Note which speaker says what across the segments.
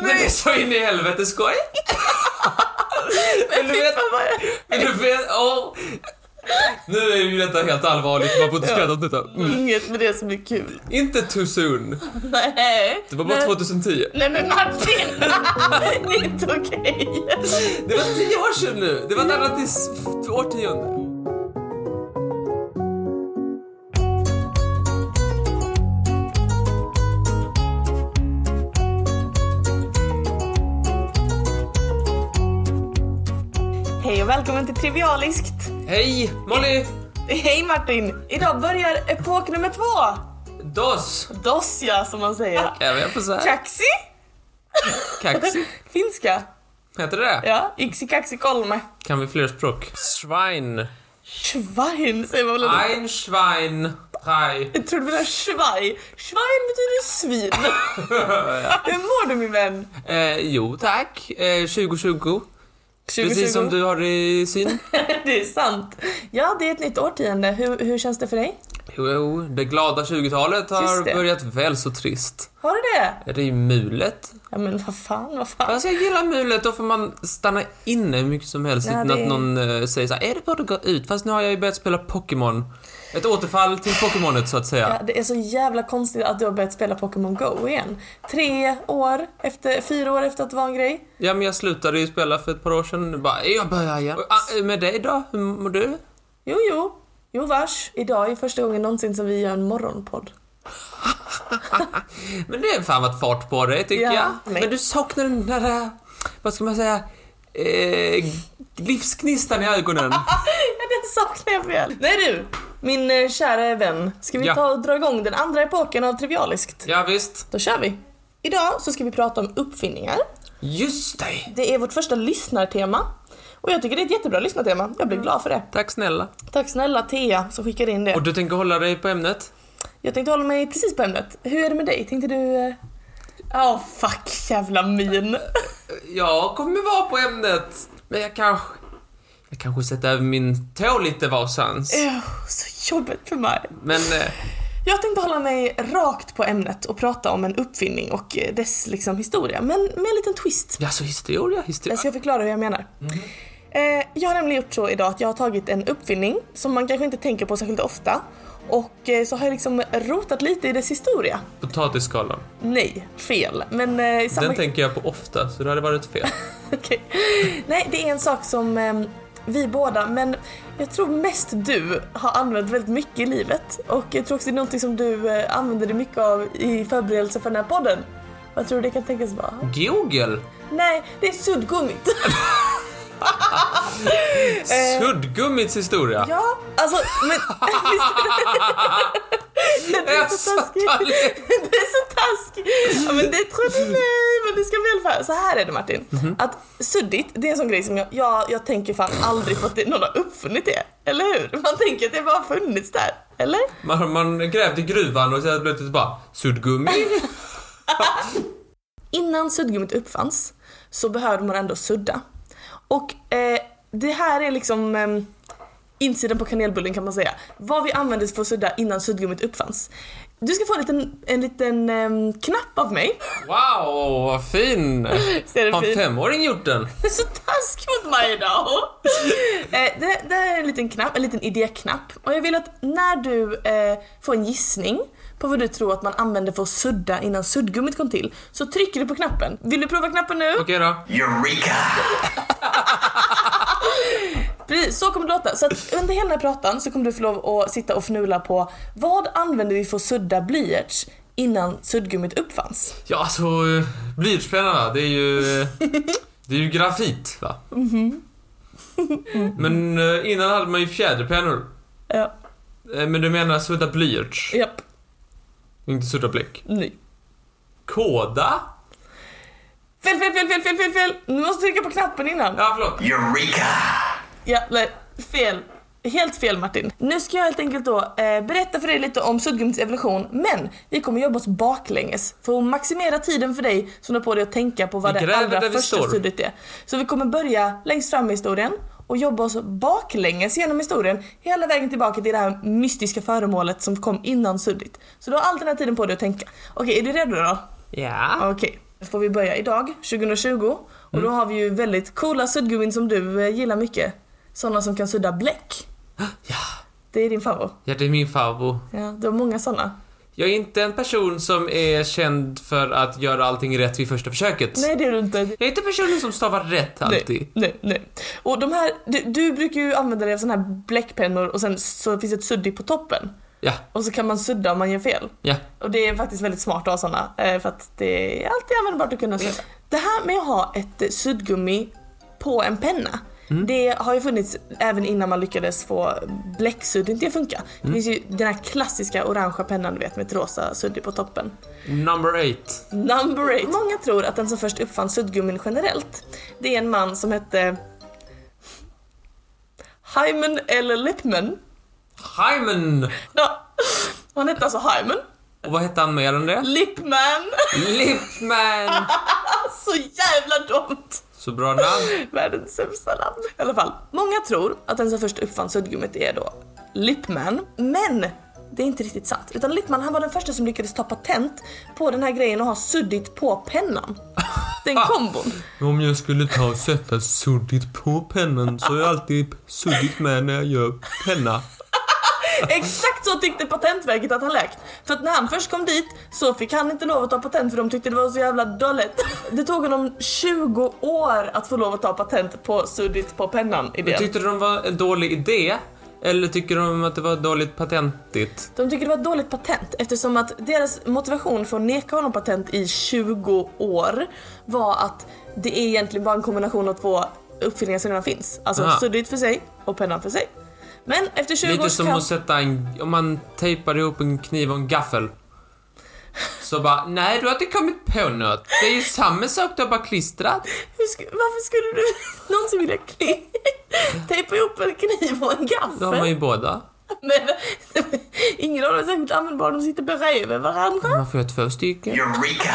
Speaker 1: Den är så in i helvete skoj. Men du vet... Men du vet... åh. Nu är ju detta helt allvarligt, man får inte skratta åt detta. Mm.
Speaker 2: Inget med det som är kul.
Speaker 1: Inte too soon.
Speaker 2: Nej.
Speaker 1: Det var bara
Speaker 2: Nej.
Speaker 1: 2010.
Speaker 2: Nej men Martin! det är inte okej.
Speaker 1: Det var tio år sedan nu! Det var ett annat is- f- årtionde.
Speaker 2: Hej och välkommen till Trivialiskt.
Speaker 1: Hej! Molly!
Speaker 2: Hej Martin! Idag börjar epok nummer två.
Speaker 1: Dos!
Speaker 2: Dos ja, som man säger.
Speaker 1: Även jag får säga.
Speaker 2: Kaxi?
Speaker 1: Kaxi.
Speaker 2: Finska.
Speaker 1: Heter det det?
Speaker 2: Ja, yksi kaksi kolme.
Speaker 1: Kan vi fler språk? Schwein.
Speaker 2: Schwein säger man väl ändå?
Speaker 1: Ein Schwein. Drei.
Speaker 2: Jag trodde du menade schwein. Schwein betyder svin. Hur mår du min vän?
Speaker 1: Eh, jo tack. Eh, 2020. Precis som du har det i syn.
Speaker 2: Det är sant. Ja, det är ett nytt årtionde. Hur, hur känns det för dig?
Speaker 1: Jo, jo, det glada 20-talet
Speaker 2: Just det.
Speaker 1: har börjat väl så trist.
Speaker 2: Har du det?
Speaker 1: Är det ju mulet?
Speaker 2: Ja men vad fan, vad fan.
Speaker 1: Fast jag gillar mulet, då får man stanna inne hur mycket som helst
Speaker 2: Ja,
Speaker 1: utan
Speaker 2: det-
Speaker 1: att någon eh, säger så här, är det bara att gå ut? Fast nu har jag ju börjat spela Pokémon. Ett återfall till Pokémonet så att säga.
Speaker 2: Ja, det är så jävla konstigt att du har börjat spela Pokémon Go igen. Tre år efter, fyra år efter att det var en grej.
Speaker 1: Ja men jag slutade ju spela för ett par år sedan, nu bara, jag börjar igen. Och, ah, med dig då, hur mår du?
Speaker 2: Jo, jo. Jo, vars. Idag är första gången någonsin som vi gör en morgonpodd.
Speaker 1: Men det är fan varit fart på dig tycker
Speaker 2: Ja,
Speaker 1: jag. Men...
Speaker 2: men-
Speaker 1: du saknar den där, eh, vad ska man säga, eh, livsgnistan i ögonen.
Speaker 2: Ja, den saknar jag väl. Nej du, min eh, kära vän. Ska vi
Speaker 1: Ja.
Speaker 2: ta och dra igång den andra epoken av Trivialiskt?
Speaker 1: ja visst.
Speaker 2: Då kör vi. Idag så ska vi prata om uppfinningar.
Speaker 1: Just det.
Speaker 2: Det är vårt första lyssnartema. Och jag tycker det är ett jättebra lyssnartema. Jag blir glad för det.
Speaker 1: Tack snälla.
Speaker 2: Tack snälla Thea som skickade in det.
Speaker 1: Mm. Och du tänker hålla dig på ämnet?
Speaker 2: Jag tänkte hålla mig precis på ämnet. Hur är det med dig? Tänkte du... eh, Åh fuck jävla min.
Speaker 1: Jag kommer vara på ämnet, men jag kanske... Jag kanske sätter över min tå lite varstans.
Speaker 2: Öh, så jobbigt för mig.
Speaker 1: Men eh,
Speaker 2: Jag tänkte hålla mig rakt på ämnet och prata om en uppfinning och eh, dess liksom historia. Men med en liten twist.
Speaker 1: ja, så historia,
Speaker 2: Jag
Speaker 1: historia.
Speaker 2: ska förklara hur jag menar. Eh, jag har nämligen gjort så idag att jag har tagit en uppfinning som man kanske inte tänker på särskilt ofta. Och eh, så har jag liksom rotat lite i dess historia.
Speaker 1: Potatisskalan.
Speaker 2: Nej, fel. Men eh, i samma...
Speaker 1: Den tänker jag på ofta, så det hade varit fel.
Speaker 2: Okej. Nej, det är en sak som eh, vi båda, men jag tror mest du har använt väldigt mycket i livet. Och jag tror också det är någonting som du eh, använder dig mycket av i förberedelse för den här podden. Vad tror du det kan tänkas vara?
Speaker 1: Google?
Speaker 2: Nej, det är suddgummit.
Speaker 1: Suddgummits historia?
Speaker 2: Eh. ja, alltså men... det är så taskigt. Det är så taskigt. Ja, men det trodde ni, eh, men det ska väl för. Så här är det Martin. Att suddigt, det är en sån grej som jag, jag, jag tänker fan aldrig på att det, någon har uppfunnit det. Eller hur? Man tänker att det bara har funnits där. Eller?
Speaker 1: Man, man grävde i gruvan och sen plötsligt bara suddgummi.
Speaker 2: Innan suddgummit uppfanns så behövde man ändå sudda. Och eh, det här är liksom eh, insidan på kanelbullen kan man säga. Vad vi använde för att sudda innan suddgummit uppfanns. Du ska få en liten, en liten eh, knapp av mig.
Speaker 1: Wow, vad fin!
Speaker 2: Ser du
Speaker 1: Har en
Speaker 2: fin?
Speaker 1: femåring gjort den?
Speaker 2: Det är så taskig mot mig idag! Eh, det, det här är en liten knapp, en liten idéknapp. Och jag vill att när du eh, får en gissning på vad du tror att man använde för att sudda innan suddgummit kom till, så trycker du på knappen. Vill du prova knappen nu?
Speaker 1: Okej då.
Speaker 3: Eureka!
Speaker 2: Precis, så kommer det låta. Så att under hela den här pratan så kommer du få lov att sitta och fnula på vad använde vi för att sudda blyerts innan suddgummit uppfanns?
Speaker 1: Ja, alltså eh, blyertspennarna, det är ju... eh, Det är ju grafit, va?
Speaker 2: Mhm.
Speaker 1: Men eh, innan hade man ju fjäderpennor.
Speaker 2: Ja,
Speaker 1: Eh, Men du menar sudda blyerts,
Speaker 2: japp,
Speaker 1: inte sudda bläck?
Speaker 2: nej.
Speaker 1: Koda?
Speaker 2: Fel, fel, fel, fel, fel, fel, fel! Nu måste du trycka på knappen innan.
Speaker 1: Ja, förlåt.
Speaker 3: Eureka!
Speaker 2: Ja, nej, fel. Helt fel Martin. Nu ska jag helt enkelt då eh, berätta för dig lite om suddgummits evolution, men vi kommer jobba oss baklänges för att maximera tiden för dig som har på dig att tänka på vad
Speaker 1: Vi
Speaker 2: det
Speaker 1: gräver
Speaker 2: allra
Speaker 1: där vi
Speaker 2: första
Speaker 1: står.
Speaker 2: suddet är. Så vi kommer börja längst fram i historien och jobba oss baklänges genom historien hela vägen tillbaka till det här mystiska föremålet som kom innan suddigt. Så du har all den här tiden på dig att tänka. Okej, är du redo då?
Speaker 1: Ja.
Speaker 2: Okej. får vi börja idag, 2020. Och då har vi ju väldigt coola suddgummin som du eh, gillar mycket. Sådana som kan sudda bläck.
Speaker 1: Ja,
Speaker 2: Det är din favorit.
Speaker 1: ja det är min farbror.
Speaker 2: Ja, du har många sådana.
Speaker 1: Jag är inte en person som är känd för att göra allting rätt vid första försöket.
Speaker 2: Nej, det är du inte.
Speaker 1: Jag är inte personen som stavar rätt alltid.
Speaker 2: Nej, nej, nej. Och de här, du, du brukar ju använda dig av sådana här bläckpennor och sen så finns det ett suddig på toppen.
Speaker 1: Ja,
Speaker 2: Och så kan man sudda om man gör fel.
Speaker 1: ja.
Speaker 2: Och det är faktiskt väldigt smart att ha sådana, eh, för att det är alltid användbart att kunna sudda. Det här med att ha ett eh, suddgummi på en penna, det har ju funnits även innan man lyckades få bläcksudden till att funka. Det finns ju den här klassiska orangea pennan du vet med ett rosa suddig på toppen.
Speaker 1: Number eight.
Speaker 2: Number eight. Många tror att den som först uppfann suddgummin generellt, det är en man som hette Hyman eller Lippman.
Speaker 1: Hyman!
Speaker 2: Ja. Han hette alltså Hyman.
Speaker 1: Och vad hette han mer än det?
Speaker 2: Lippman.
Speaker 1: Lipman!
Speaker 2: Så jävla dumt!
Speaker 1: Så bra namn.
Speaker 2: Världens sämsta namn. I alla fall, många tror att den som först uppfann suddgummit är då Lippman. Men det är inte riktigt sant. Utan Lippman han var den första som lyckades ta patent på den här grejen och ha suddigt på pennan. Den kombon.
Speaker 1: Om jag skulle ta och sätta suddigt på pennan så är jag alltid suddigt med när jag gör penna.
Speaker 2: Exakt så tyckte Patentverket att han läkt. För att när han först kom dit så fick han inte lov att ta patent för de tyckte det var så jävla dåligt. Det tog honom 20 år att få lov att ta patent på suddigt på pennan idén.
Speaker 1: Tyckte de var en dålig idé? Eller tycker de att det var dåligt patentigt?
Speaker 2: De tycker det var ett dåligt patent eftersom att deras motivation för att neka honom patent i 20 år var att det är egentligen bara en kombination av två uppfinningar som redan finns. Alltså
Speaker 1: Aha.
Speaker 2: suddigt för sig och pennan för sig. Men efter 20
Speaker 1: Lite
Speaker 2: års
Speaker 1: som
Speaker 2: kamp...
Speaker 1: att sätta en... Om man tejpar ihop en kniv och en gaffel. Så bara, nej du har inte kommit på något. Det är ju samma sak, du har bara klistrat.
Speaker 2: Hur sk... Varför skulle du någonsin vilja kli... tejpa ihop en kniv och en
Speaker 1: Då har man
Speaker 2: gaffel?
Speaker 1: ju båda.
Speaker 2: Men ingen av dem är särskilt användbar, de sitter bredvid varandra.
Speaker 1: Man får ju ha två stycken.
Speaker 3: Eureka!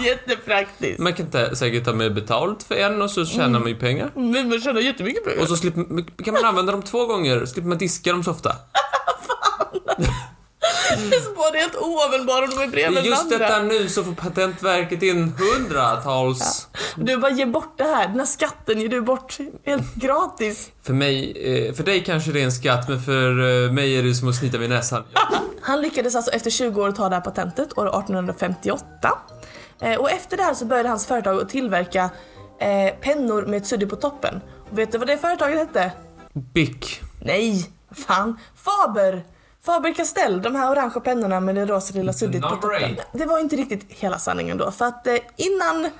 Speaker 2: Jättepraktiskt.
Speaker 1: Man kan inte säkert ta med betalt för en och så tjänar man ju pengar.
Speaker 2: Men man tjänar jättemycket pengar.
Speaker 1: Och så slipper, kan man använda dem två gånger, slipper man diska dem så ofta.
Speaker 2: Båda är helt oanvändbara om de är
Speaker 1: Det är
Speaker 2: bredvid
Speaker 1: just
Speaker 2: varandra.
Speaker 1: detta nu så får Patentverket in hundratals.
Speaker 2: Du bara ger bort det här, den här skatten ger du bort helt gratis.
Speaker 1: För mig, eh, för dig kanske det är en skatt, men för eh, mig är det som att snita vid näsan.
Speaker 2: Han lyckades alltså efter 20 år ta det här patentet år 1858. Eh, och efter det här så började hans företag att tillverka eh, pennor med ett suddig på toppen. Och vet du vad det företaget hette?
Speaker 1: Bick.
Speaker 2: Nej, fan. Faber! Faber Castell, de här orangea pennorna med det rosa lilla suddigt på
Speaker 1: Number
Speaker 2: toppen.
Speaker 1: eight.
Speaker 2: Det var ju inte riktigt hela sanningen då, för att eh, innan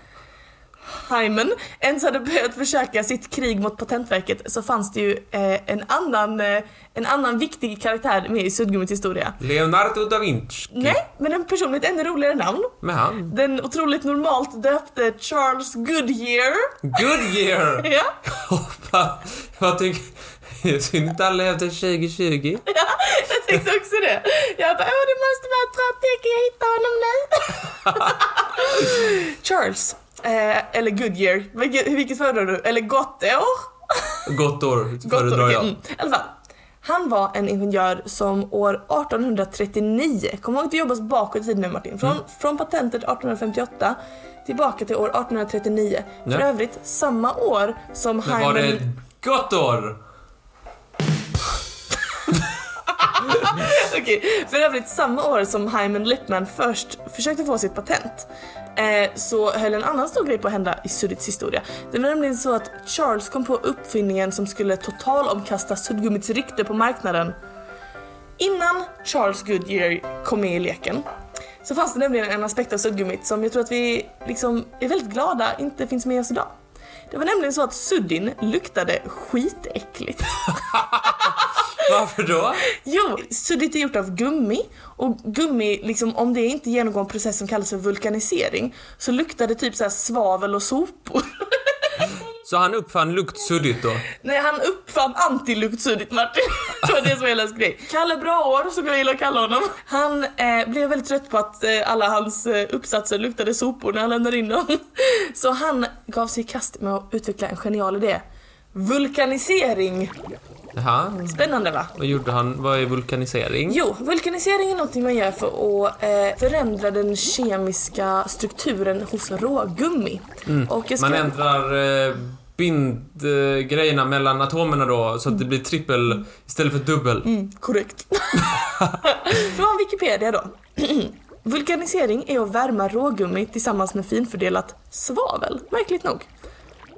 Speaker 2: Hyman ens hade börjat försöka sitt krig mot Patentverket så fanns det ju eh, en, annan, eh, en annan viktig karaktär med i suddgummits historia.
Speaker 1: Leonardo da Vinci.
Speaker 2: Nej, men en person med ett ännu roligare namn.
Speaker 1: Med han.
Speaker 2: Den otroligt normalt döpte Charles Goodyear.
Speaker 1: Goodyear!
Speaker 2: Ja.
Speaker 1: Hoppa. Vad tycker... Synd inte alla efter 2020.
Speaker 2: Jag tänkte också det. Jag bara, åh det måste vara Trappig, kan jag hitta honom nu? Charles. Eh, eller Goodyear. Vilket, vilket föredrar du? Eller Gottår?
Speaker 1: Gott år,
Speaker 2: Gottår,
Speaker 1: föredrar
Speaker 2: okej.
Speaker 1: jag.
Speaker 2: Mm. I alla fall. Han var en ingenjör som år 1839, kom ihåg att vi jobbar oss bakåt i tiden nu Martin,
Speaker 1: Mm.
Speaker 2: från, från patentet 1858 tillbaka till år 1839. För
Speaker 1: Ja.
Speaker 2: övrigt samma år som
Speaker 1: Men var det ett gott år?
Speaker 2: Okej, för övrigt samma år som Hyman Lippman först försökte få sitt patent eh, så höll en annan stor grej på att hända i suddits historia. Det var nämligen så att Charles kom på uppfinningen som skulle totalomkasta suddgummits rykte på marknaden. Innan Charles Goodyear kom med i leken så fanns det nämligen en aspekt av suddgummit som jag tror att vi liksom är väldigt glada inte finns med oss idag. Det var nämligen så att suddin luktade skitäckligt.
Speaker 1: Varför då?
Speaker 2: Jo, suddigt är gjort av gummi och gummi, liksom, om det inte genomgår en process som kallas för vulkanisering så luktar det typ så här svavel och sopor.
Speaker 1: Så han uppfann luktsuddigt då?
Speaker 2: Nej, han uppfann antiluktsuddigt Martin. det var det som var hela hans grej. Kalle Braår, som jag gillar att kalla honom, han eh, blev väldigt trött på att eh, alla hans eh, uppsatser luktade sopor när han lämnade in dem. Så han gav sig i kast med att utveckla en genial idé. Vulkanisering!
Speaker 1: Jaha.
Speaker 2: Spännande va?
Speaker 1: Vad gjorde han? Vad är vulkanisering?
Speaker 2: Jo, vulkanisering är någonting man gör för att eh, förändra den kemiska strukturen hos rågummi. Och jag
Speaker 1: Man
Speaker 2: skrev-
Speaker 1: ändrar eh, bindgrejerna mellan atomerna då så att det
Speaker 2: Mm.
Speaker 1: blir trippel istället för dubbel.
Speaker 2: Korrekt. Från Wikipedia då. Vulkanisering är att värma rågummi tillsammans med finfördelat svavel, märkligt nog.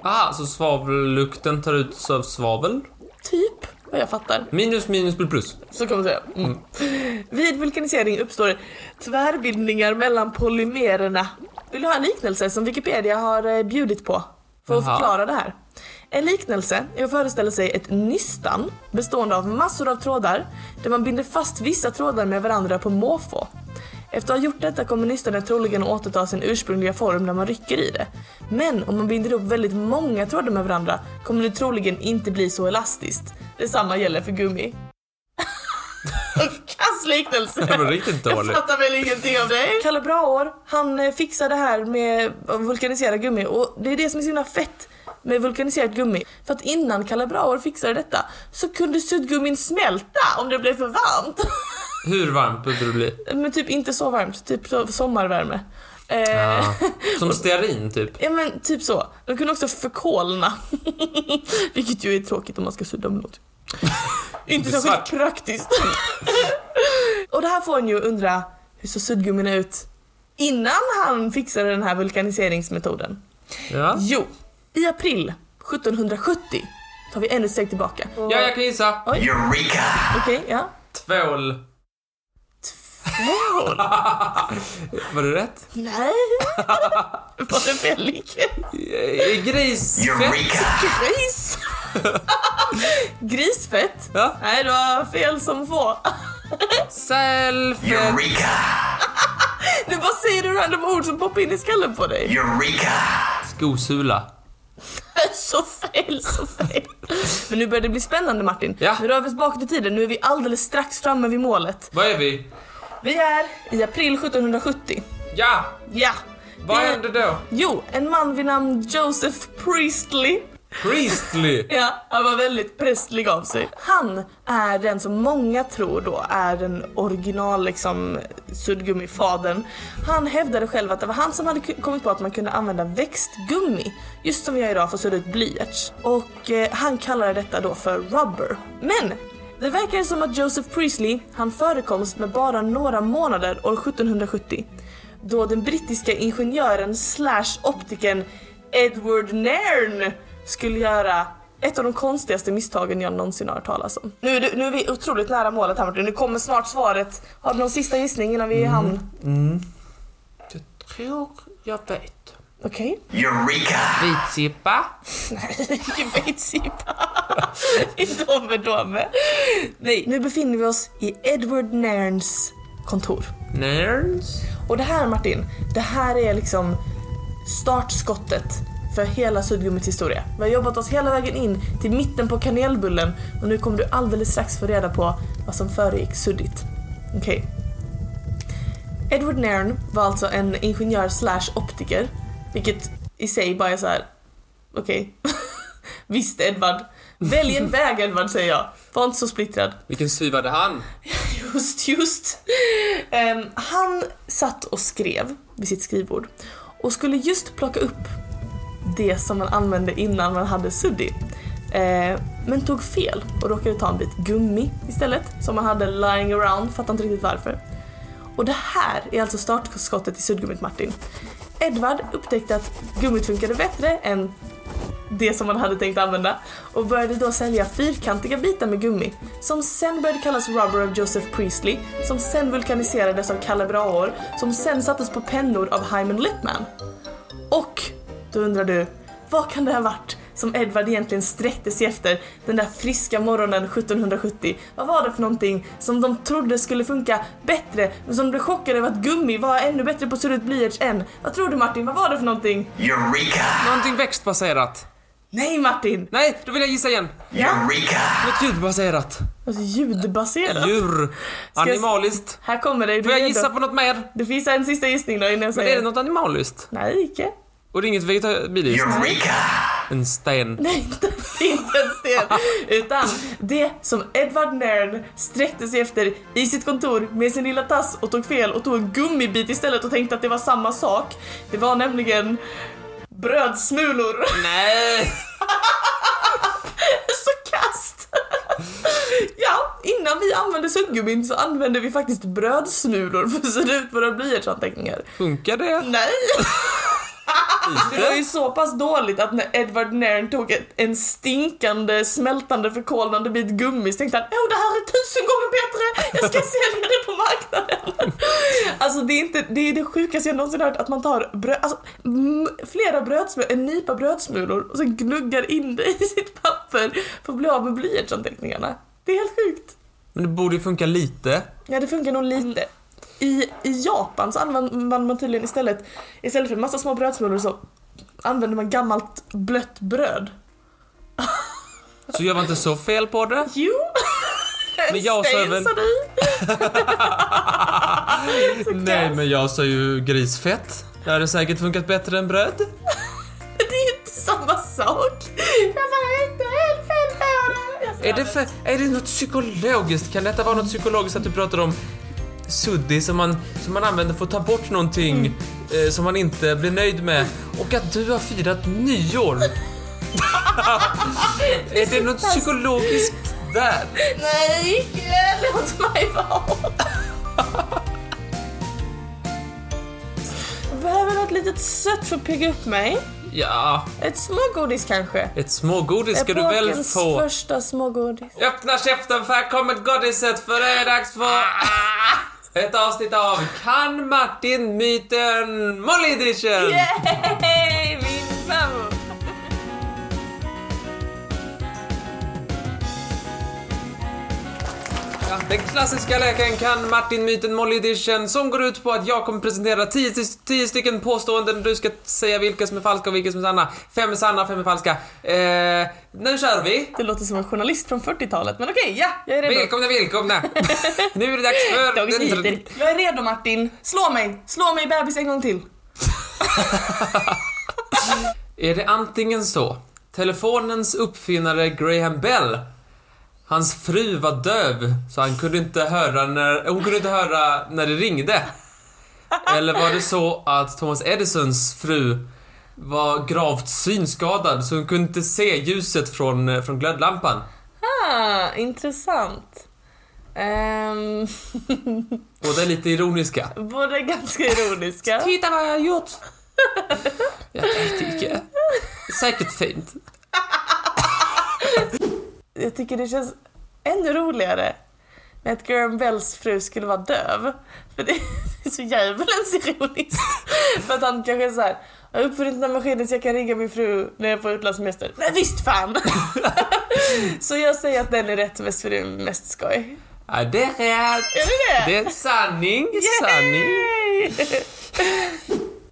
Speaker 1: Ah, så svavellukten tar ut av svavel?
Speaker 2: Typ, vad jag fattar.
Speaker 1: Minus minus blir plus.
Speaker 2: Så kan man säga. Mm. Vid vulkanisering uppstår tvärbindningar mellan polymererna. Vill du ha en liknelse som Wikipedia har eh, bjudit på? För att
Speaker 1: Jaha.
Speaker 2: förklara det här. En liknelse är att föreställa sig ett nystan bestående av massor av trådar där man binder fast vissa trådar med varandra på måfå. Efter att ha gjort detta kommer nystanet troligen att återta sin ursprungliga form när man rycker i det. Men om man binder upp väldigt många trådar med varandra kommer det troligen inte bli så elastiskt. Detsamma gäller för gummi. Kass liknelse!
Speaker 1: Det var riktigt dåligt.
Speaker 2: fattar väl ingenting av dig. Kalle Braår, han eh, fixar det här med att vulkanisera gummi och det är det som är så himla fett med vulkaniserat gummi. För att innan Kalle Braår fixade detta så kunde suddgummin smälta om det blev för varmt.
Speaker 1: Hur varmt behöver det bli?
Speaker 2: Men typ inte så varmt, typ så- sommarvärme. Eh,
Speaker 1: Ah. Som stearin typ.
Speaker 2: Ja men typ så. De kunde också förkolna. Vilket ju är tråkigt om man ska sudda med något. Inte
Speaker 1: Inte
Speaker 2: särskilt
Speaker 1: svart.
Speaker 2: praktiskt. och det här får en ju undra, hur såg suddgummin ut innan han fixade den här vulkaniseringsmetoden?
Speaker 1: Ja.
Speaker 2: Jo, i april 1770 tar vi ännu ett steg tillbaka.
Speaker 1: ja, jag kan gissa.
Speaker 3: Eureka!
Speaker 2: Okej, ja.
Speaker 1: Tvål. Var det rätt?
Speaker 2: Nej. Var det väldigt
Speaker 1: Eh, Grisfett.
Speaker 3: Eureka!
Speaker 2: Gris. Grisfett?
Speaker 1: Ja.
Speaker 2: Nej, det var fel som få.
Speaker 1: Sälfett.
Speaker 3: Eureka!
Speaker 2: Nu bara säger du random ord som poppar in i skallen på dig.
Speaker 3: Eureka!
Speaker 1: Skosula.
Speaker 2: Så fel, så fel. Men nu börjar det bli spännande Martin.
Speaker 1: Ja.
Speaker 2: Nu rör vi oss bakåt i tiden, nu är vi alldeles strax framme vid målet.
Speaker 1: Vad är vi?
Speaker 2: Vi är i april 1770.
Speaker 1: Ja!
Speaker 2: Ja.
Speaker 1: Vad
Speaker 2: Det-
Speaker 1: hände då?
Speaker 2: Jo, en man vid namn Joseph Priestley
Speaker 1: Priestley.
Speaker 2: Ja, han var väldigt prästlig av sig. Han är den som många tror då är den original liksom suddgummifadern. Han hävdade själv att det var han som hade ku- kommit på att man kunde använda växtgummi, just som vi gör idag för att sudda ut blyerts. Och eh, han kallade detta då för rubber. Men det verkar som att Joseph Priestley, han förekoms med bara några månader år 1770 då den brittiska ingenjören slash optiken Edward Nairn skulle göra ett av de konstigaste misstagen jag någonsin har hört talas om. Nu är, du, nu är vi otroligt nära målet här Martin, nu kommer snart svaret. Har du någon sista gissning innan vi är i hamn?
Speaker 1: Jag tror jag vet.
Speaker 2: Okej.
Speaker 3: Eureka!
Speaker 1: Vitsippa.
Speaker 2: Kvejtsipa. Domedome. Nej, nu befinner vi oss i Edward Nairns kontor.
Speaker 1: Nerds.
Speaker 2: Och det här Martin, det här är liksom startskottet för hela suddgummits historia. Vi har jobbat oss hela vägen in till mitten på kanelbullen och nu kommer du alldeles strax få reda på vad som föregick suddigt. Okej. Edward Nairn var alltså en ingenjör slash optiker, vilket i sig bara är så här. okej. Visst Edward. Välj en väg Edward säger jag. Var inte så splittrad.
Speaker 1: Vilken syvade han?
Speaker 2: Just, just. Ehm, han satt och skrev vid sitt skrivbord och skulle just plocka upp det som man använde innan man hade suddi. Ehm, men tog fel och råkade ta en bit gummi istället som man hade lying around, fattar inte riktigt varför. Och det här är alltså startskottet i suddgummit Martin. Edvard upptäckte att gummit funkade bättre än det som man hade tänkt använda och började då sälja fyrkantiga bitar med gummi som sen började kallas rubber av Joseph Priestley som sen vulkaniserades av Kalle Braor som sen sattes på pennor av Hyman Lippman. Och då undrar du, vad kan det ha varit som Edvard egentligen sträckte sig efter den där friska morgonen 1770? Vad var det för någonting som de trodde skulle funka bättre men som blev chockade över att gummi var ännu bättre på att surra ut blyerts än? Vad tror du Martin, vad var det för någonting?
Speaker 3: Eureka!
Speaker 1: Någonting växtbaserat.
Speaker 2: Nej Martin!
Speaker 1: Nej, då vill jag gissa igen.
Speaker 3: Eureka!
Speaker 1: Något ljudbaserat.
Speaker 2: Alltså ljudbaserat.
Speaker 1: Djur.
Speaker 2: jag-
Speaker 1: Animaliskt.
Speaker 2: Här kommer det. Du
Speaker 1: Får
Speaker 2: är
Speaker 1: jag
Speaker 2: redo.
Speaker 1: gissa på något mer?
Speaker 2: Det finns en sista gissning då innan jag
Speaker 1: Men är
Speaker 2: säger.
Speaker 1: det något animaliskt?
Speaker 2: Nej, icke.
Speaker 1: Och det är inget vegetabiliskt?
Speaker 3: Eureka!
Speaker 1: En sten.
Speaker 2: Nej, inte, inte en sten. Utan det som Edward Nairn sträckte sig efter i sitt kontor med sin lilla tass och tog fel och tog en gummibit istället och tänkte att det var samma sak. Det var nämligen brödsmulor.
Speaker 1: Nej!
Speaker 2: Så kast. Ja, innan vi använde suddgummin så använde vi faktiskt brödsmulor för att sudda ut våra blyertsanteckningar.
Speaker 1: Funkar det?
Speaker 2: Nej! Det var ju
Speaker 1: Inte?
Speaker 2: så pass dåligt att när Edward Nairn tog ett, en stinkande, smältande, förkolnande bit gummi så tänkte han Åh, det här är tusen gånger bättre! Jag ska sälja det på marknaden! alltså det är, inte, det är det sjukaste jag någonsin hört, att man tar bröd, alltså, m- flera brödsmulor, en nypa brödsmulor och sen gnuggar in det i sitt papper för att bli av med blyertsanteckningarna. Det är helt sjukt.
Speaker 1: Men det borde ju funka lite.
Speaker 2: Ja, det funkar nog lite. I, I Japan så använder man tydligen istället, istället för en massa små brödsmulor så använder man gammalt blött bröd.
Speaker 1: Så jag var inte så fel på det.
Speaker 2: Jo!
Speaker 1: Men jag sa
Speaker 2: Sten,
Speaker 1: väl-
Speaker 2: sa du?
Speaker 1: Nej, men jag sa ju grisfett. Det hade säkert funkat bättre än bröd.
Speaker 2: Det är ju inte samma sak! Jag bara, inte helt fel på det! Jag sa,
Speaker 1: Är det, för, är det något psykologiskt? Kan detta vara något psykologiskt att du pratar om suddig som man, som man använder för att ta bort någonting eh, som man inte blir nöjd med? Och att du har firat nyår? är det något psykologiskt där?
Speaker 2: Nej, Mikael, låt mig vara! Jag Behöver något litet sött för att pigga upp mig.
Speaker 1: Ja,
Speaker 2: Ett smågodis kanske?
Speaker 1: ett smågodis ska du väl
Speaker 2: Epokens
Speaker 1: få?
Speaker 2: första smågodis.
Speaker 1: Öppna käften för här kommer godiset för det är dags för ett avsnitt av Kan Martin myten Molly edition!
Speaker 2: Yay, min favorit!
Speaker 1: Ja, Den klassiska leken kan Martin myten Molly edition som går ut på att jag kommer presentera 10 tio stycken påståenden du ska säga vilka som är falska och vilka som är sanna. Fem är sanna, fem är falska. Eh, nu kör vi!
Speaker 2: Det låter som en journalist från 40-talet, men okej, ja, jag är redo.
Speaker 1: Välkomna, välkomna! nu är det dags för...
Speaker 2: Dagens
Speaker 1: den-
Speaker 2: Nyheter. Jag är redo Martin. Slå mig, slå mig bebis en gång till.
Speaker 1: är det antingen så telefonens uppfinnare Graham Bell Hans fru var döv så han kunde inte höra när, hon kunde inte höra när det ringde. Eller var det så att Thomas Edisons fru var gravt synskadad så hon kunde inte se ljuset från, eh, från glödlampan?
Speaker 2: Ah, intressant. Ehm,
Speaker 1: Båda är lite ironiska.
Speaker 2: båda ganska ironiska.
Speaker 1: Titta vad jag har gjort! Jag tycker... Säkert fint.
Speaker 2: Jag tycker det känns ännu roligare med att Graham Bells fru skulle vara döv. För det är så djävulens ironiskt. För att han kanske är såhär, jag har uppfunnit den här maskinen så jag kan ringa min fru när jag är på utlandssemester. Nej visst fan! så jag säger att den är rätt mest för det är mest skoj.
Speaker 1: Ja, det är rätt.
Speaker 2: Är det det?
Speaker 1: Det är sanning, sanning.
Speaker 2: Yay!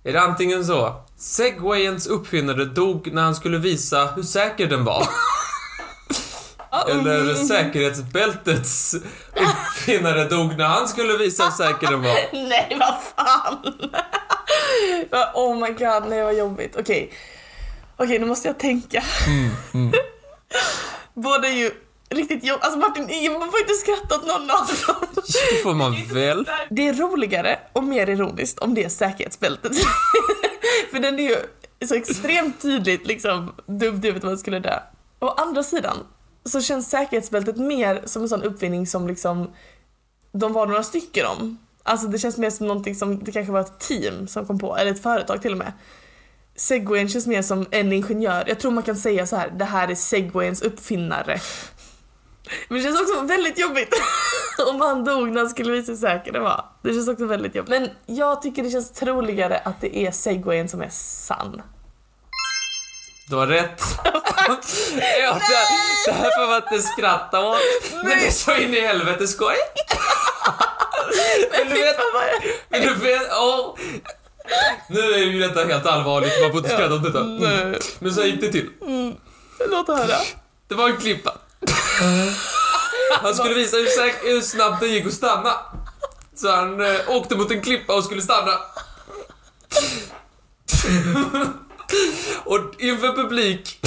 Speaker 1: Är det antingen så? Segwayens uppfinnare dog när han skulle visa hur säker den var. Eller säkerhetsbältets uppfinnare dog när han skulle visa hur säker den var.
Speaker 2: Nej, vad fan! oh my god, nej vad jobbigt. Okej, okej nu måste jag tänka. Båda är ju riktigt jobb... Alltså Martin, man får inte skratta åt någon av dem.
Speaker 1: Det får man väl.
Speaker 2: Det är roligare och mer ironiskt om det är säkerhetsbältet. För den är ju så extremt tydligt liksom dumt i huvudet om man skulle dö. Å andra sidan så känns säkerhetsbältet mer som en sån uppfinning som liksom de var några stycken om. Alltså det känns mer som någonting som det kanske var ett team som kom på, eller ett företag till och med. Segwayen känns mer som en ingenjör. Jag tror man kan säga så här, det här är segwayens uppfinnare. Men det känns också väldigt jobbigt om han dog när han skulle visa hur säker det var. Det känns också väldigt jobbigt. Men jag tycker det känns troligare att det är segwayen som är sann.
Speaker 1: Du har rätt. ja, det, det här får man inte skratta åt. Men det är så in i helvete skoj. Men du vet,
Speaker 2: Fan, vad jag-
Speaker 1: men du vet, åh. Nu är ju detta helt allvarligt, man får inte skratta åt detta. Mm.
Speaker 2: Nej,
Speaker 1: Men så här gick det till.
Speaker 2: låt höra.
Speaker 1: Det var en klippa. Han skulle visa hur, säk- hur snabbt det gick att stanna. Så han eh, åkte mot en klippa och skulle stanna. och inför publik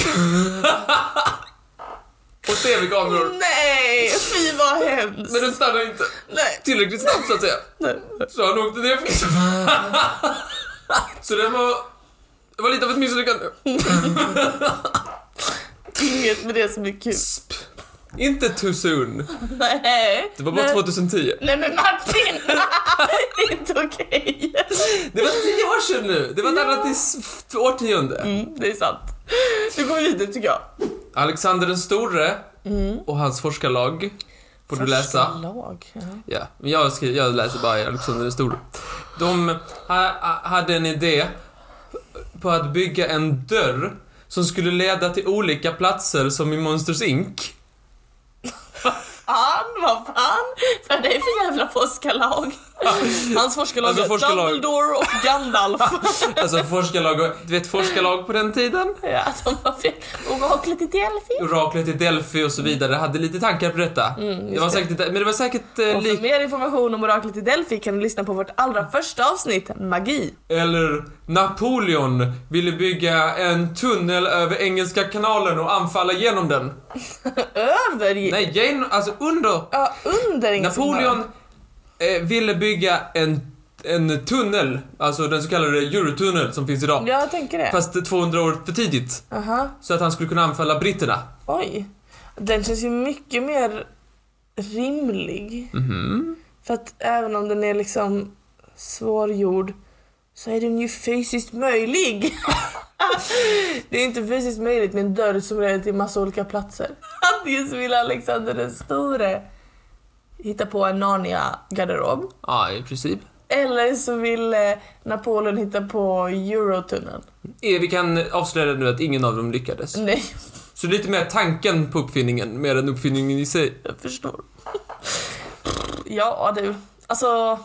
Speaker 1: och tv-kameror.
Speaker 2: Nej, fy vad hemskt.
Speaker 1: Men den stannar inte
Speaker 2: Nej,
Speaker 1: tillräckligt snabbt så att säga.
Speaker 2: nej.
Speaker 1: Så han åkte ner för Så det var... Det var lite av ett misslyckande.
Speaker 2: Inget med det som är kul.
Speaker 1: Sp. Inte too soon.
Speaker 2: Nej.
Speaker 1: Det var bara
Speaker 2: nej.
Speaker 1: 2010.
Speaker 2: Nej men Martin! det är inte okej.
Speaker 1: Det var tio år sedan nu! Det var ett annat is- årtionde.
Speaker 2: Mm, det är sant. Nu går vi vidare tycker jag.
Speaker 1: Alexander den store
Speaker 2: Mm.
Speaker 1: och hans forskarlag får du läsa.
Speaker 2: Lag, ja.
Speaker 1: Ja, men jag, skri- jag läser bara Alexander den store. De ha- ha- hade en idé på att bygga en dörr som skulle leda till olika platser som i Monsters Inc.
Speaker 2: Fan, vad fan! Vad är det för jävla forskarlag? Hans forskarlag
Speaker 1: Alltså,
Speaker 2: är
Speaker 1: forskarlag.
Speaker 2: Dumbledore och Gandalf.
Speaker 1: Alltså forskarlag, och- du vet forskarlag på den tiden?
Speaker 2: ja, de var fel. Oraklet i Delphi.
Speaker 1: Oraklet i Delphi och så vidare hade lite tankar på detta. det var säkert, men det var säkert eh,
Speaker 2: Mm, Och för
Speaker 1: lik...
Speaker 2: mer information om oraklet i Delphi kan du lyssna på vårt allra första avsnitt, Magi.
Speaker 1: Eller Napoleon ville bygga en tunnel över Engelska kanalen och anfalla genom den.
Speaker 2: Över...
Speaker 1: Nej, genom, alltså under.
Speaker 2: Ja, under Engelska
Speaker 1: Napoleon eh, ville bygga en, en tunnel, alltså den så kallade Eurotunnel som finns
Speaker 2: kanalen.
Speaker 1: idag.
Speaker 2: Ja, jag tänker det.
Speaker 1: Fast 200 år för tidigt.
Speaker 2: Aha.
Speaker 1: Så att han skulle kunna anfalla britterna.
Speaker 2: Oj. Den känns ju mycket mer rimlig.
Speaker 1: Mhm.
Speaker 2: För att även om den är liksom svårgjord så är den ju fysiskt möjlig. det är inte fysiskt möjligt med en dörr som leder till massa olika platser. Antingen så vill Alexander den store hitta på en Narnia-garderob.
Speaker 1: Ja, i princip.
Speaker 2: Eller så vill eh, Napoleon hitta på Eurotunneln.
Speaker 1: Eh, Vi kan avslöja nu att ingen av dem lyckades.
Speaker 2: Nej,
Speaker 1: Så lite mer tanken på uppfinningen, mer än uppfinningen i sig.
Speaker 2: Jag förstår. Ja du, alltså.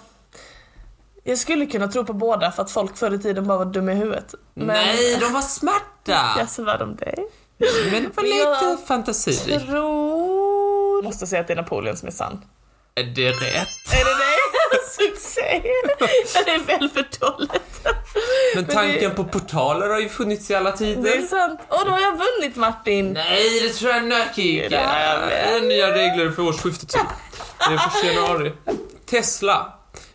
Speaker 2: Jag skulle kunna tro på båda för att folk förr i tiden bara var dumma i huvudet. Men
Speaker 1: Nej, de var smarta!
Speaker 2: Jag svär om dig.
Speaker 1: Men det var
Speaker 2: Jag
Speaker 1: lite fantasirik.
Speaker 2: Tror... Måste säga att det är Napoleon som är sann.
Speaker 1: Är det rätt?
Speaker 2: Är det det? Succé! Ja, det är väl för dåligt.
Speaker 1: Men
Speaker 2: det-
Speaker 1: tanken på portaler har ju funnits i alla
Speaker 2: Det är
Speaker 1: tider.
Speaker 2: sant. Åh, då har jag vunnit Martin!
Speaker 1: Nej, det tror jag nökig. Det
Speaker 2: Det här
Speaker 1: är nya regler för årsskiftet. typ. Det är för januari. Tesla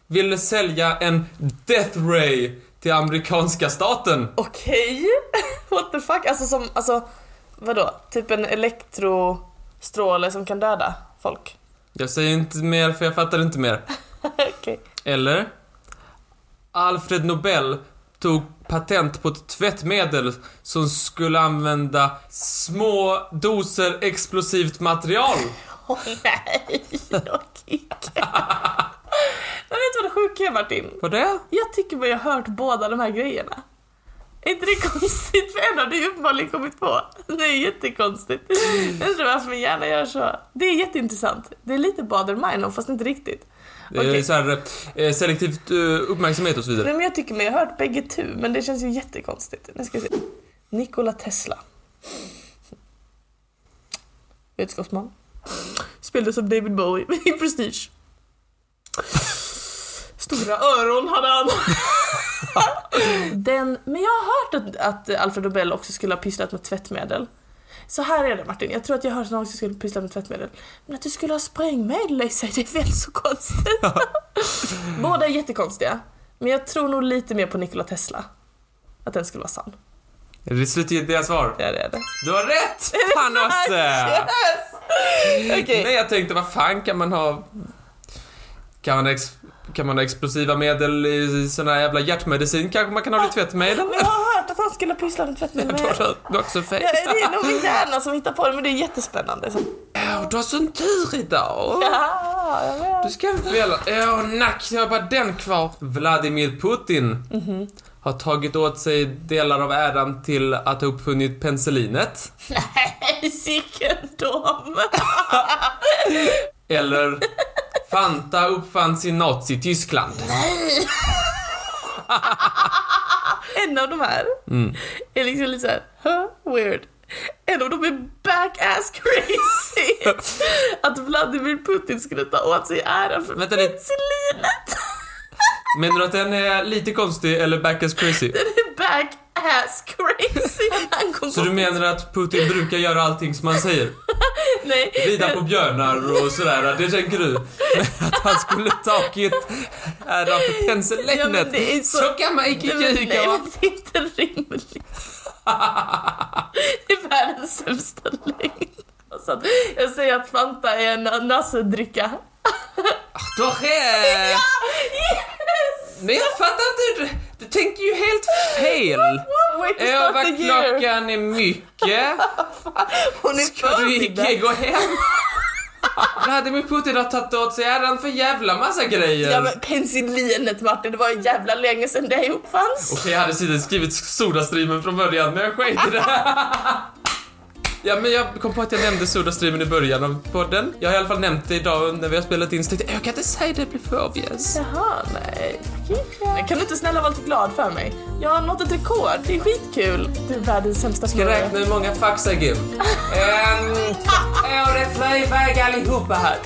Speaker 1: ville sälja en Death Ray till amerikanska staten.
Speaker 2: Okej, what the fuck? Alltså som, alltså vadå? Typ en elektrostråle som kan döda folk?
Speaker 1: Jag säger inte mer för jag fattar inte mer.
Speaker 2: Okej.
Speaker 1: Eller? Alfred Nobel tog patent på ett tvättmedel som skulle använda små doser explosivt material.
Speaker 2: Åh nej, jag kickar. Men vet du vad det sjuka är Martin?
Speaker 1: Vad det?
Speaker 2: Jag tycker mig ha hört båda de här grejerna. Är inte det konstigt? För en har du ju uppenbarligen kommit på. Det är jättekonstigt. Jag undrar varför min hjärna gör så. Det är jätteintressant. Det är lite Bader-Meinhof fast inte riktigt.
Speaker 1: Det är
Speaker 2: Okej.
Speaker 1: så här, eh, selektivt eh, uppmärksamhet och så vidare.
Speaker 2: Nej, men jag tycker mig ha hört bägge tu, men det känns ju jättekonstigt. Nu ska vi se. Nikola Tesla. Vetenskapsman. Spelades av David Bowie i Prestige. Stora öron hade han. Den, men jag har hört att, att Alfred Nobel också skulle ha pysslat med tvättmedel. Så här är det Martin, jag tror att jag har hört någon som skulle pyssla med tvättmedel. Men att du skulle ha sprängmedel i sig, det är väl så konstigt? Båda är jättekonstiga. Men jag tror nog lite mer på Nikola Tesla. Att den skulle vara sann.
Speaker 1: Är det slutgiltiga svar?
Speaker 2: Ja, det är det.
Speaker 1: Du har rätt! Fan också!
Speaker 2: Okej.
Speaker 1: Nej, jag tänkte vad fan kan man ha... Kan man, ex... kan man ha explosiva medel i sån här jävla hjärtmedicin? Kanske man kan ha det i tvättmedel?
Speaker 2: Ah, Men jag har hört att han skulle pyssla med tvättmedel.
Speaker 1: Du har- du har också fel.
Speaker 2: Ja, det är nog min hjärna som hittar på det, men det är jättespännande. Så.
Speaker 1: Åh, du har sån tur idag.
Speaker 2: Ja, jag vet.
Speaker 1: Du ska väl... Åh, nack, jag har bara den kvar. Vladimir Putin
Speaker 2: Mhm.
Speaker 1: har tagit åt sig delar av äran till att ha uppfunnit penicillinet.
Speaker 2: Nej, sicken dom!
Speaker 1: Eller Fanta uppfanns i Nazi-Tyskland.
Speaker 2: En av de här
Speaker 1: Mm.
Speaker 2: är liksom lite såhär, huh, weird. En av dem är back-ass crazy! Att Vladimir Putin skulle ta åt sig äran för
Speaker 1: Vänta lite.
Speaker 2: penicillinet.
Speaker 1: Menar du att den är lite konstig eller back as crazy?
Speaker 2: Den är back-ass crazy! Han kom
Speaker 1: Så
Speaker 2: på
Speaker 1: du menar att Putin brukar göra allting som han säger?
Speaker 2: Nej.
Speaker 1: rida på björnar och sådär, det tänker du. Men att han skulle tagit ära för
Speaker 2: Ja,
Speaker 1: pensellängnet,
Speaker 2: men det är
Speaker 1: så...
Speaker 2: så-
Speaker 1: kan man inte
Speaker 2: Nej, men-
Speaker 1: ljuga
Speaker 2: Nej,
Speaker 1: va?
Speaker 2: men det är inte rimligt. det är världens sämsta lögn. Så att jag säger att Fanta är en nassedricka.
Speaker 1: Torre! Men jag fattar inte, du, du tänker ju helt fel.
Speaker 2: Wait to start the year.
Speaker 1: Överklockan är mycket.
Speaker 2: Hon är
Speaker 1: Ska du
Speaker 2: född i
Speaker 1: inte
Speaker 2: det.
Speaker 1: gå hem? Vladimir Putin har tagit åt sig äran för jävla massa grejer.
Speaker 2: Ja men penicillinet Martin, det var ju jävla länge sedan det uppfanns.
Speaker 1: Okej, jag hade tydligen skrivit Sodastreamen från början, men jag sket i det. Ja, men jag kom på att jag nämnde Sodastreamen i början av podden. Jag har i alla fall nämnt det idag när vi har spelat in, så tänkte jag, jag kan inte säga det, det blir för obvious.
Speaker 2: Jaha, nej. Men Kan du inte snälla vara lite glad för mig? Jag har nått ett rekord, det är skitkul. Du är världens sämsta
Speaker 1: Jag
Speaker 2: förlorare.
Speaker 1: räknar hur många fax jag gav. Ehm, ja, det flög iväg allihopa här.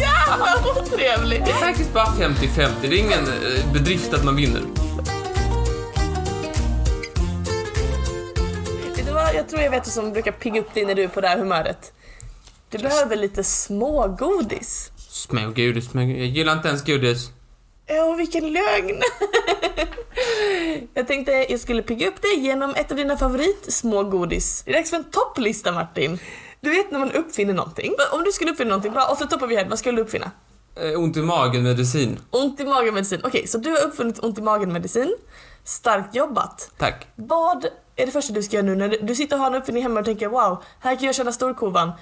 Speaker 2: Jävlar vad trevlig!
Speaker 1: Det är faktiskt bara 50-50, det är ingen eh, bedrift att man vinner.
Speaker 2: Vet du vad? Jag tror jag vet vad som brukar pigga upp dig när du är på det här humöret. Du behöver lite smågodis.
Speaker 1: Smågodis, smågodis. Jag gillar inte ens godis.
Speaker 2: Åh, vilken lögn! jag tänkte jag skulle pigga upp dig genom ett av dina favoritsmågodis. Det är dags för en topplista Martin. Du vet när man uppfinner någonting. Om du skulle uppfinna någonting, bara off the top of your head, vad skulle du uppfinna?
Speaker 1: Eh, ont i magen medicin.
Speaker 2: Ont i magen-medicin. Okej, så du har uppfunnit ont i magen-medicin. Starkt jobbat.
Speaker 1: Tack.
Speaker 2: Vad är det första du ska göra nu när du- du sitter och har en uppfinning hemma och tänker wow, här kan jag tjäna storkovan.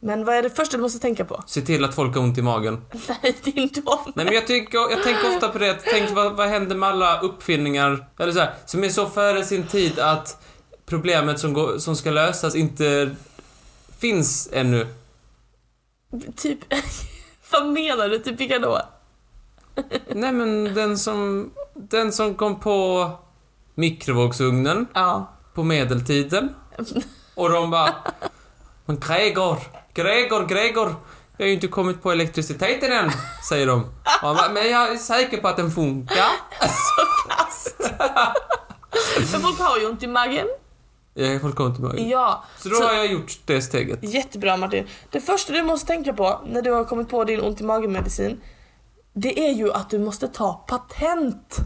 Speaker 2: Men vad är det första du måste tänka på?
Speaker 1: Se till att folk har ont i magen.
Speaker 2: Nej, din dom.
Speaker 1: Nej men jag, tycker, jag tänker ofta på det, att tänk vad, vad händer med alla uppfinningar, eller så här, som är så före sin tid att problemet som, går, som ska lösas inte finns ännu.
Speaker 2: Typ, vad menar du? Typ vilka då?
Speaker 1: Nej men den som, den som kom på mikrovågsugnen
Speaker 2: Ja.
Speaker 1: på medeltiden och de bara Men Gregor, Gregor, Gregor, jag har ju inte kommit på elektriciteten än, säger de. Och han bara, men jag är säker på att den funkar.
Speaker 2: Så kast. Men folk har ju ont i magen.
Speaker 1: Jag är fullkomligt möjlig.
Speaker 2: Ja.
Speaker 1: Så då
Speaker 2: Så-
Speaker 1: har jag gjort det steget.
Speaker 2: Jättebra Martin. Det första du måste tänka på när du har kommit på din ont i magen-medicin, det är ju att du måste ta patent.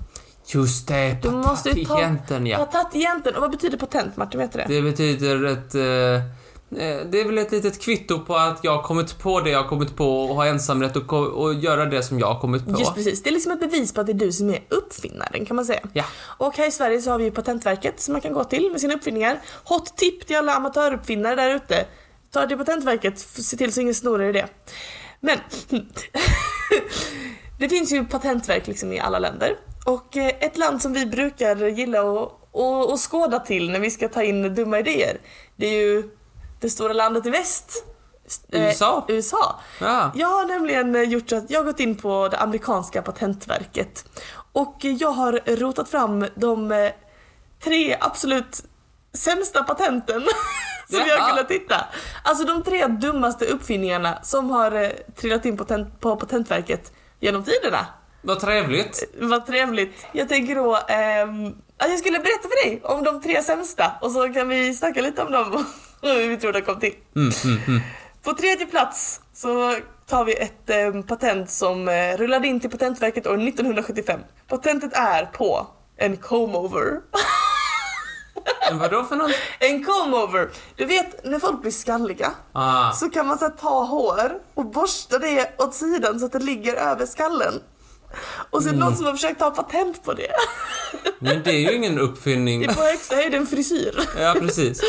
Speaker 1: Just det,
Speaker 2: Du måste ju ta
Speaker 1: patienten ja.
Speaker 2: patentjänten. Och vad betyder patent Martin? Vet du det?
Speaker 1: Det betyder ett... Eh, eh, det är väl ett litet kvitto på att jag har kommit på det jag har kommit på och har ensamrätt att ko- och göra det som jag har kommit på.
Speaker 2: Just precis. Det är liksom ett bevis på att det är du som är uppfinnaren kan man säga.
Speaker 1: Ja.
Speaker 2: Och här i Sverige så har vi ju Patentverket som man kan gå till med sina uppfinningar. Hot tip till alla amatöruppfinnare där ute. Ta till Patentverket, f- se till så ingen snor er i det. Men det finns ju patentverk liksom i alla länder. Och eh, ett land som vi brukar gilla att och, och skåda till när vi ska ta in dumma idéer, det är ju det stora landet i väst. S- eh,
Speaker 1: USA.
Speaker 2: USA.
Speaker 1: Ja.
Speaker 2: Jag har nämligen eh, gjort så att jag har gått in på det amerikanska patentverket och eh, jag har rotat fram de eh, tre absolut sämsta patenten som jag
Speaker 1: Jaha.
Speaker 2: har kunnat hitta. Alltså de tre dummaste uppfinningarna som har eh, trillat in på, patent, på Patentverket genom tiderna.
Speaker 1: Vad trevligt.
Speaker 2: Vad trevligt. Jag tänker då ehm, att jag skulle berätta för dig om de tre sämsta och så kan vi snacka lite om dem och hur vi tror de kom till. På tredje plats så tar vi ett eh, patent som eh, rullade in till Patentverket år 1975. Patentet är på en comb-over.
Speaker 1: Men vadå för någon?
Speaker 2: En comb-over! Du vet när folk blir skalliga
Speaker 1: Ah,
Speaker 2: så kan man så här, ta hår och borsta det åt sidan så att det ligger över skallen. Och så är det någon som har försökt ta patent på det.
Speaker 1: men det är ju ingen uppfinning.
Speaker 2: Det är på högsta höjden frisyr.
Speaker 1: Ja, precis.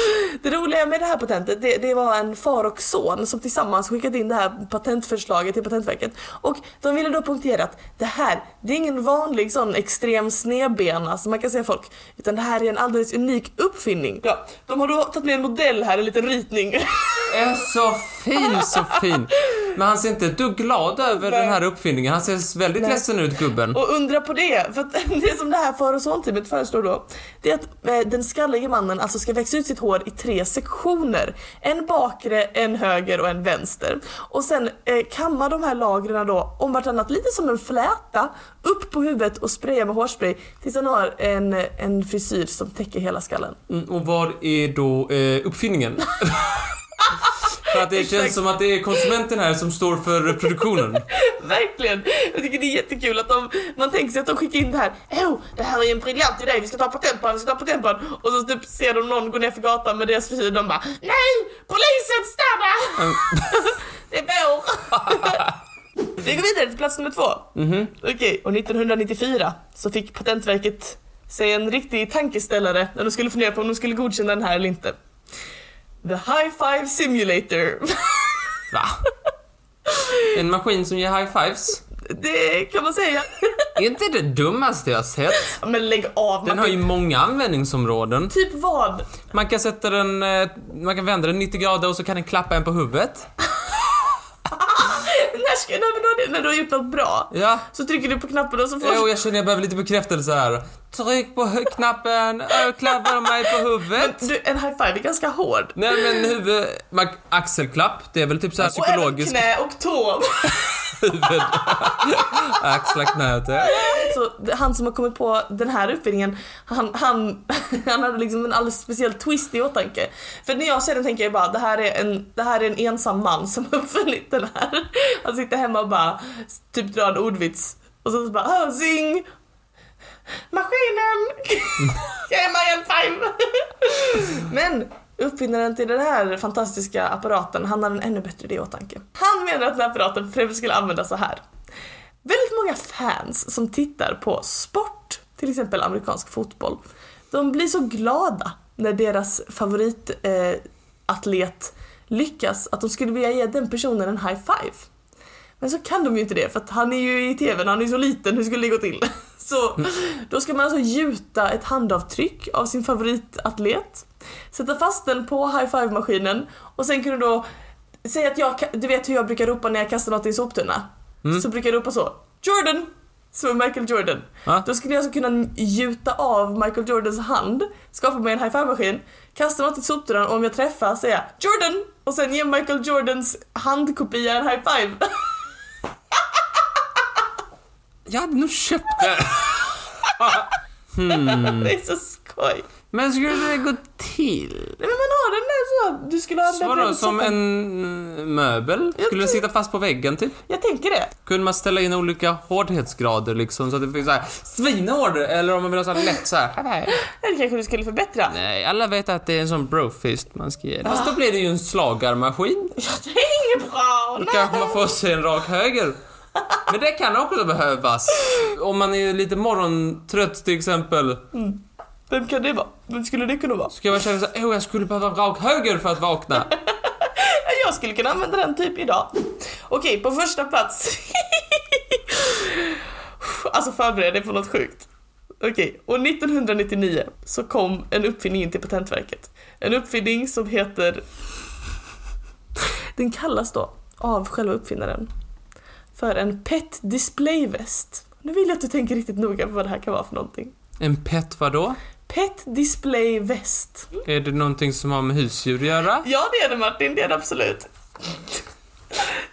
Speaker 2: Det roliga med det här patentet, det, det var en far och son som tillsammans skickat in det här patentförslaget till Patentverket. Och de ville då punktera att det här, det är ingen vanlig sån extrem snedbena som man kan säga folk. Utan det här är en alldeles unik uppfinning. Ja, de har då tagit med en modell här, en liten ritning.
Speaker 1: Är så fin, så fin. Men han ser inte ett dugg glad över
Speaker 2: Nej.
Speaker 1: den här uppfinningen. Han ser väldigt ledsen ut, gubben.
Speaker 2: Och undra på det, för att det som det här far och sonteamet föreslår då, det är att eh, den skallige mannen alltså ska växa ut sitt hår i tre sektioner. En bakre, en höger och en vänster. Och sen eh, kamma de här lagren då om vartannat, lite som en fläta, upp på huvudet och spraya med hårspray tills han har en, en frisyr som täcker hela skallen.
Speaker 1: Mm, och vad är då eh, uppfinningen? För att det
Speaker 2: Exakt.
Speaker 1: känns som att det är konsumenten här som står för produktionen.
Speaker 2: Verkligen! Jag tycker det är jättekul att de, man tänker sig att de skickar in det här. Åh, det här är en briljant idé, vi ska ta patent på den, vi ska ta patent på den. Och så typ ser de någon gå ner för gatan med deras frisyr, de bara Nej! Polisen stanna!
Speaker 1: Mm.
Speaker 2: det är vår! vi går vidare till plats nummer två.
Speaker 1: Mhm.
Speaker 2: Okej, och 1994 så fick Patentverket sig en riktig tankeställare när de skulle fundera på om de skulle godkänna den här eller inte. The High Five Simulator.
Speaker 1: Va? En maskin som ger high-fives?
Speaker 2: det kan man säga.
Speaker 1: Är inte det dummaste jag sett?
Speaker 2: Ja, Men lägg av
Speaker 1: Den
Speaker 2: Martin.
Speaker 1: har ju många användningsområden.
Speaker 2: Typ vad?
Speaker 1: Man kan sätta den, eh, man kan vända den 90 grader och så kan den klappa en på huvudet.
Speaker 2: När, ska, när, när, du- när du har gjort något bra
Speaker 1: Ja.
Speaker 2: så trycker du på knappen och så får
Speaker 1: Jo, jag känner jag behöver lite bekräftelse här. Tryck på hu- knappen, ö, klappar de mig på huvudet.
Speaker 2: du en high five. är ganska hård.
Speaker 1: Nej men huvud, man, axelklapp, det är väl typ så här
Speaker 2: Och även
Speaker 1: psykologiskt
Speaker 2: knä och tå.
Speaker 1: huvud. Axla knät, ja.
Speaker 2: Så det- han som har kommit på den här uppfinningen, han, han, han hade liksom en alldeles speciell twist i åtanke. För när jag ser den tänker jag bara, det här är en, det här är en ensam man som har uppfunnit den här. Han sitter hemma och bara typ drar en ordvits och så bara, ah, zing! Maskinen! Jag är Marianne Five! Men uppfinnaren till den här fantastiska apparaten, han hade en ännu bättre idé i åtanke. Han menar att den här apparaten främst skulle användas så här. Väldigt många fans som tittar på sport, till exempel amerikansk fotboll, de blir så glada när deras favoritatlet eh, atlet lyckas att de skulle vilja ge den personen en high five. Men så kan de ju inte det för att han är ju i TVn, han är så liten, hur skulle det gå till? Så då ska man alltså gjuta ett handavtryck av sin favoritatlet, sätta fast den på high five-maskinen och sen kunde då Säg att jag, ka- du vet hur jag brukar ropa när jag kastar något i en soptunna? Så brukar jag ropa så, Jordan! Som är Michael Jordan.
Speaker 1: Ja.
Speaker 2: Då skulle jag alltså kunna gjuta av Michael Jordans hand, skapa mig en high five-maskin, kasta något i soptunnan och om jag träffar säga Jordan! Och sen ge Michael Jordans handkopia en high five.
Speaker 1: Jag hade nog köpt det.
Speaker 2: Det är så skoj.
Speaker 1: Men skulle det gå till?
Speaker 2: Nej men man har den där så, du skulle ha den där
Speaker 1: Vadå,
Speaker 2: bredvid
Speaker 1: som
Speaker 2: soffan.
Speaker 1: en eh, möbel? Skulle den sitta fast på väggen typ?
Speaker 2: Jag tänker det.
Speaker 1: Kunde man ställa in olika hårdhetsgrader liksom så att det finns såhär svinhård eller om man vill ha såhär lätt såhär.
Speaker 2: Eller kanske du skulle förbättra.
Speaker 1: Nej, alla vet att det är en sån brofist man ska ge. Fast då blir det ju en slagarmaskin.
Speaker 2: Ja, det är inget bra!
Speaker 1: Då kanske man får sig en rak höger. Men det kan också behövas. Om man är lite morgontrött till exempel.
Speaker 2: Vem kan det vara? Vem skulle det kunna vara?
Speaker 1: Så kan man känna såhär, åh jag skulle behöva en rak höger för att vakna.
Speaker 2: Ja, Jag skulle kunna använda den typ idag. Okej, på första plats. alltså förbered dig på något sjukt. Okej, och 1999 så kom en uppfinning in till Patentverket. En uppfinning som heter... Den kallas då, av själva uppfinnaren, för en Pet Display Vest. Nu vill jag att du tänker riktigt noga på vad det här kan vara för någonting.
Speaker 1: En pet vadå?
Speaker 2: Pet Display Vest.
Speaker 1: Är det någonting som har med husdjur att göra?
Speaker 2: Ja det är det Martin, det är det absolut.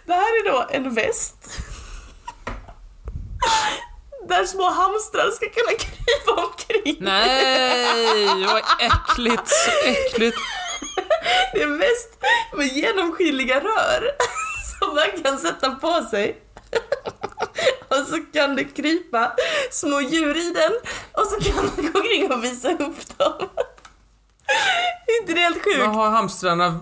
Speaker 2: Det här är då en väst. Där små hamstrar ska kunna krypa omkring.
Speaker 1: Nej, vad äckligt, så äckligt.
Speaker 2: Det är en väst med genomskinliga rör som man kan sätta på sig. Och så kan det krypa små djur i den och så kan man gå omkring och visa upp dem. Är inte det helt
Speaker 1: Men
Speaker 2: sjukt?
Speaker 1: har hamstrarna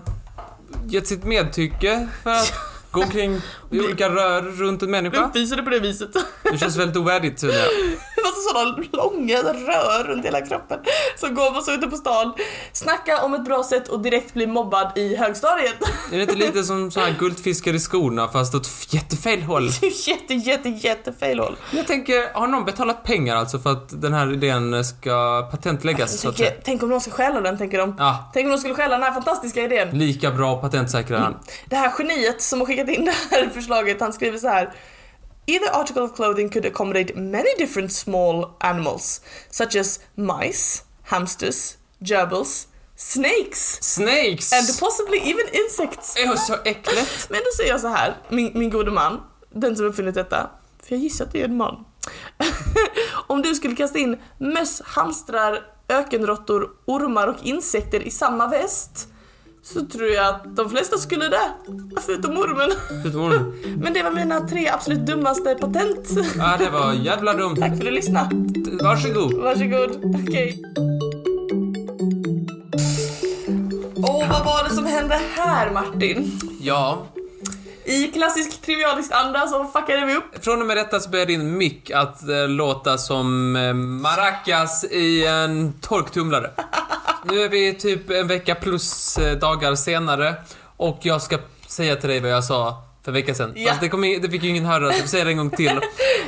Speaker 1: gett sitt medtycke för att gå omkring i olika rör runt en människa?
Speaker 2: Uppvisade på det viset.
Speaker 1: Det känns väldigt ovärdigt Tina.
Speaker 2: Det var sådana långa rör runt hela kroppen. Så går man så ute på stan, snacka om ett bra sätt och direkt bli mobbad i högstadiet.
Speaker 1: Är det inte lite som så här guldfiskar i skorna fast åt f- jättefel håll?
Speaker 2: Det är jätte, jätte, jätte fail håll.
Speaker 1: Jag tänker, har någon betalat pengar alltså för att den här idén ska patentläggas så att säga?
Speaker 2: Tänk, tänk om någon ska stjäla den, tänker de.
Speaker 1: Ja,
Speaker 2: Tänk om någon skulle stjäla den här fantastiska idén.
Speaker 1: lika bra patentsäkrar han.
Speaker 2: Det här geniet som har skickat in det här förslaget, han skriver så här. Either article of clothing could accommodate many different small animals, such as mice, hamsters, gerbils, snakes,
Speaker 1: Snakes!
Speaker 2: and possibly even insects.
Speaker 1: Åh, så äckligt!
Speaker 2: Men då säger jag så här, min, min gode man, den som uppfunnit detta, för jag gissar att det är en man. Om du skulle kasta in möss, hamstrar, ökenråttor, ormar och insekter i samma väst så tror jag att de flesta skulle dö. Förutom ormen.
Speaker 1: Förutom ormen.
Speaker 2: Men det var mina tre absolut dummaste patent.
Speaker 1: Ja, det var jävla dumt.
Speaker 2: Tack för att du lyssnade.
Speaker 1: Varsågod.
Speaker 2: Varsågod. Okej. Åh, vad var det som hände här Martin?
Speaker 1: Ja.
Speaker 2: I klassisk trivialisk anda så fuckade vi upp.
Speaker 1: Från och med detta så börjar din mick att eh, låta som eh, maracas i en torktumlare. Nu är vi typ en vecka plus eh, dagar senare och jag ska säga till dig vad jag sa för en vecka sedan.
Speaker 2: Ja.
Speaker 1: Fast det, kom in, det fick ju ingen höra, så jag får säga det en gång till.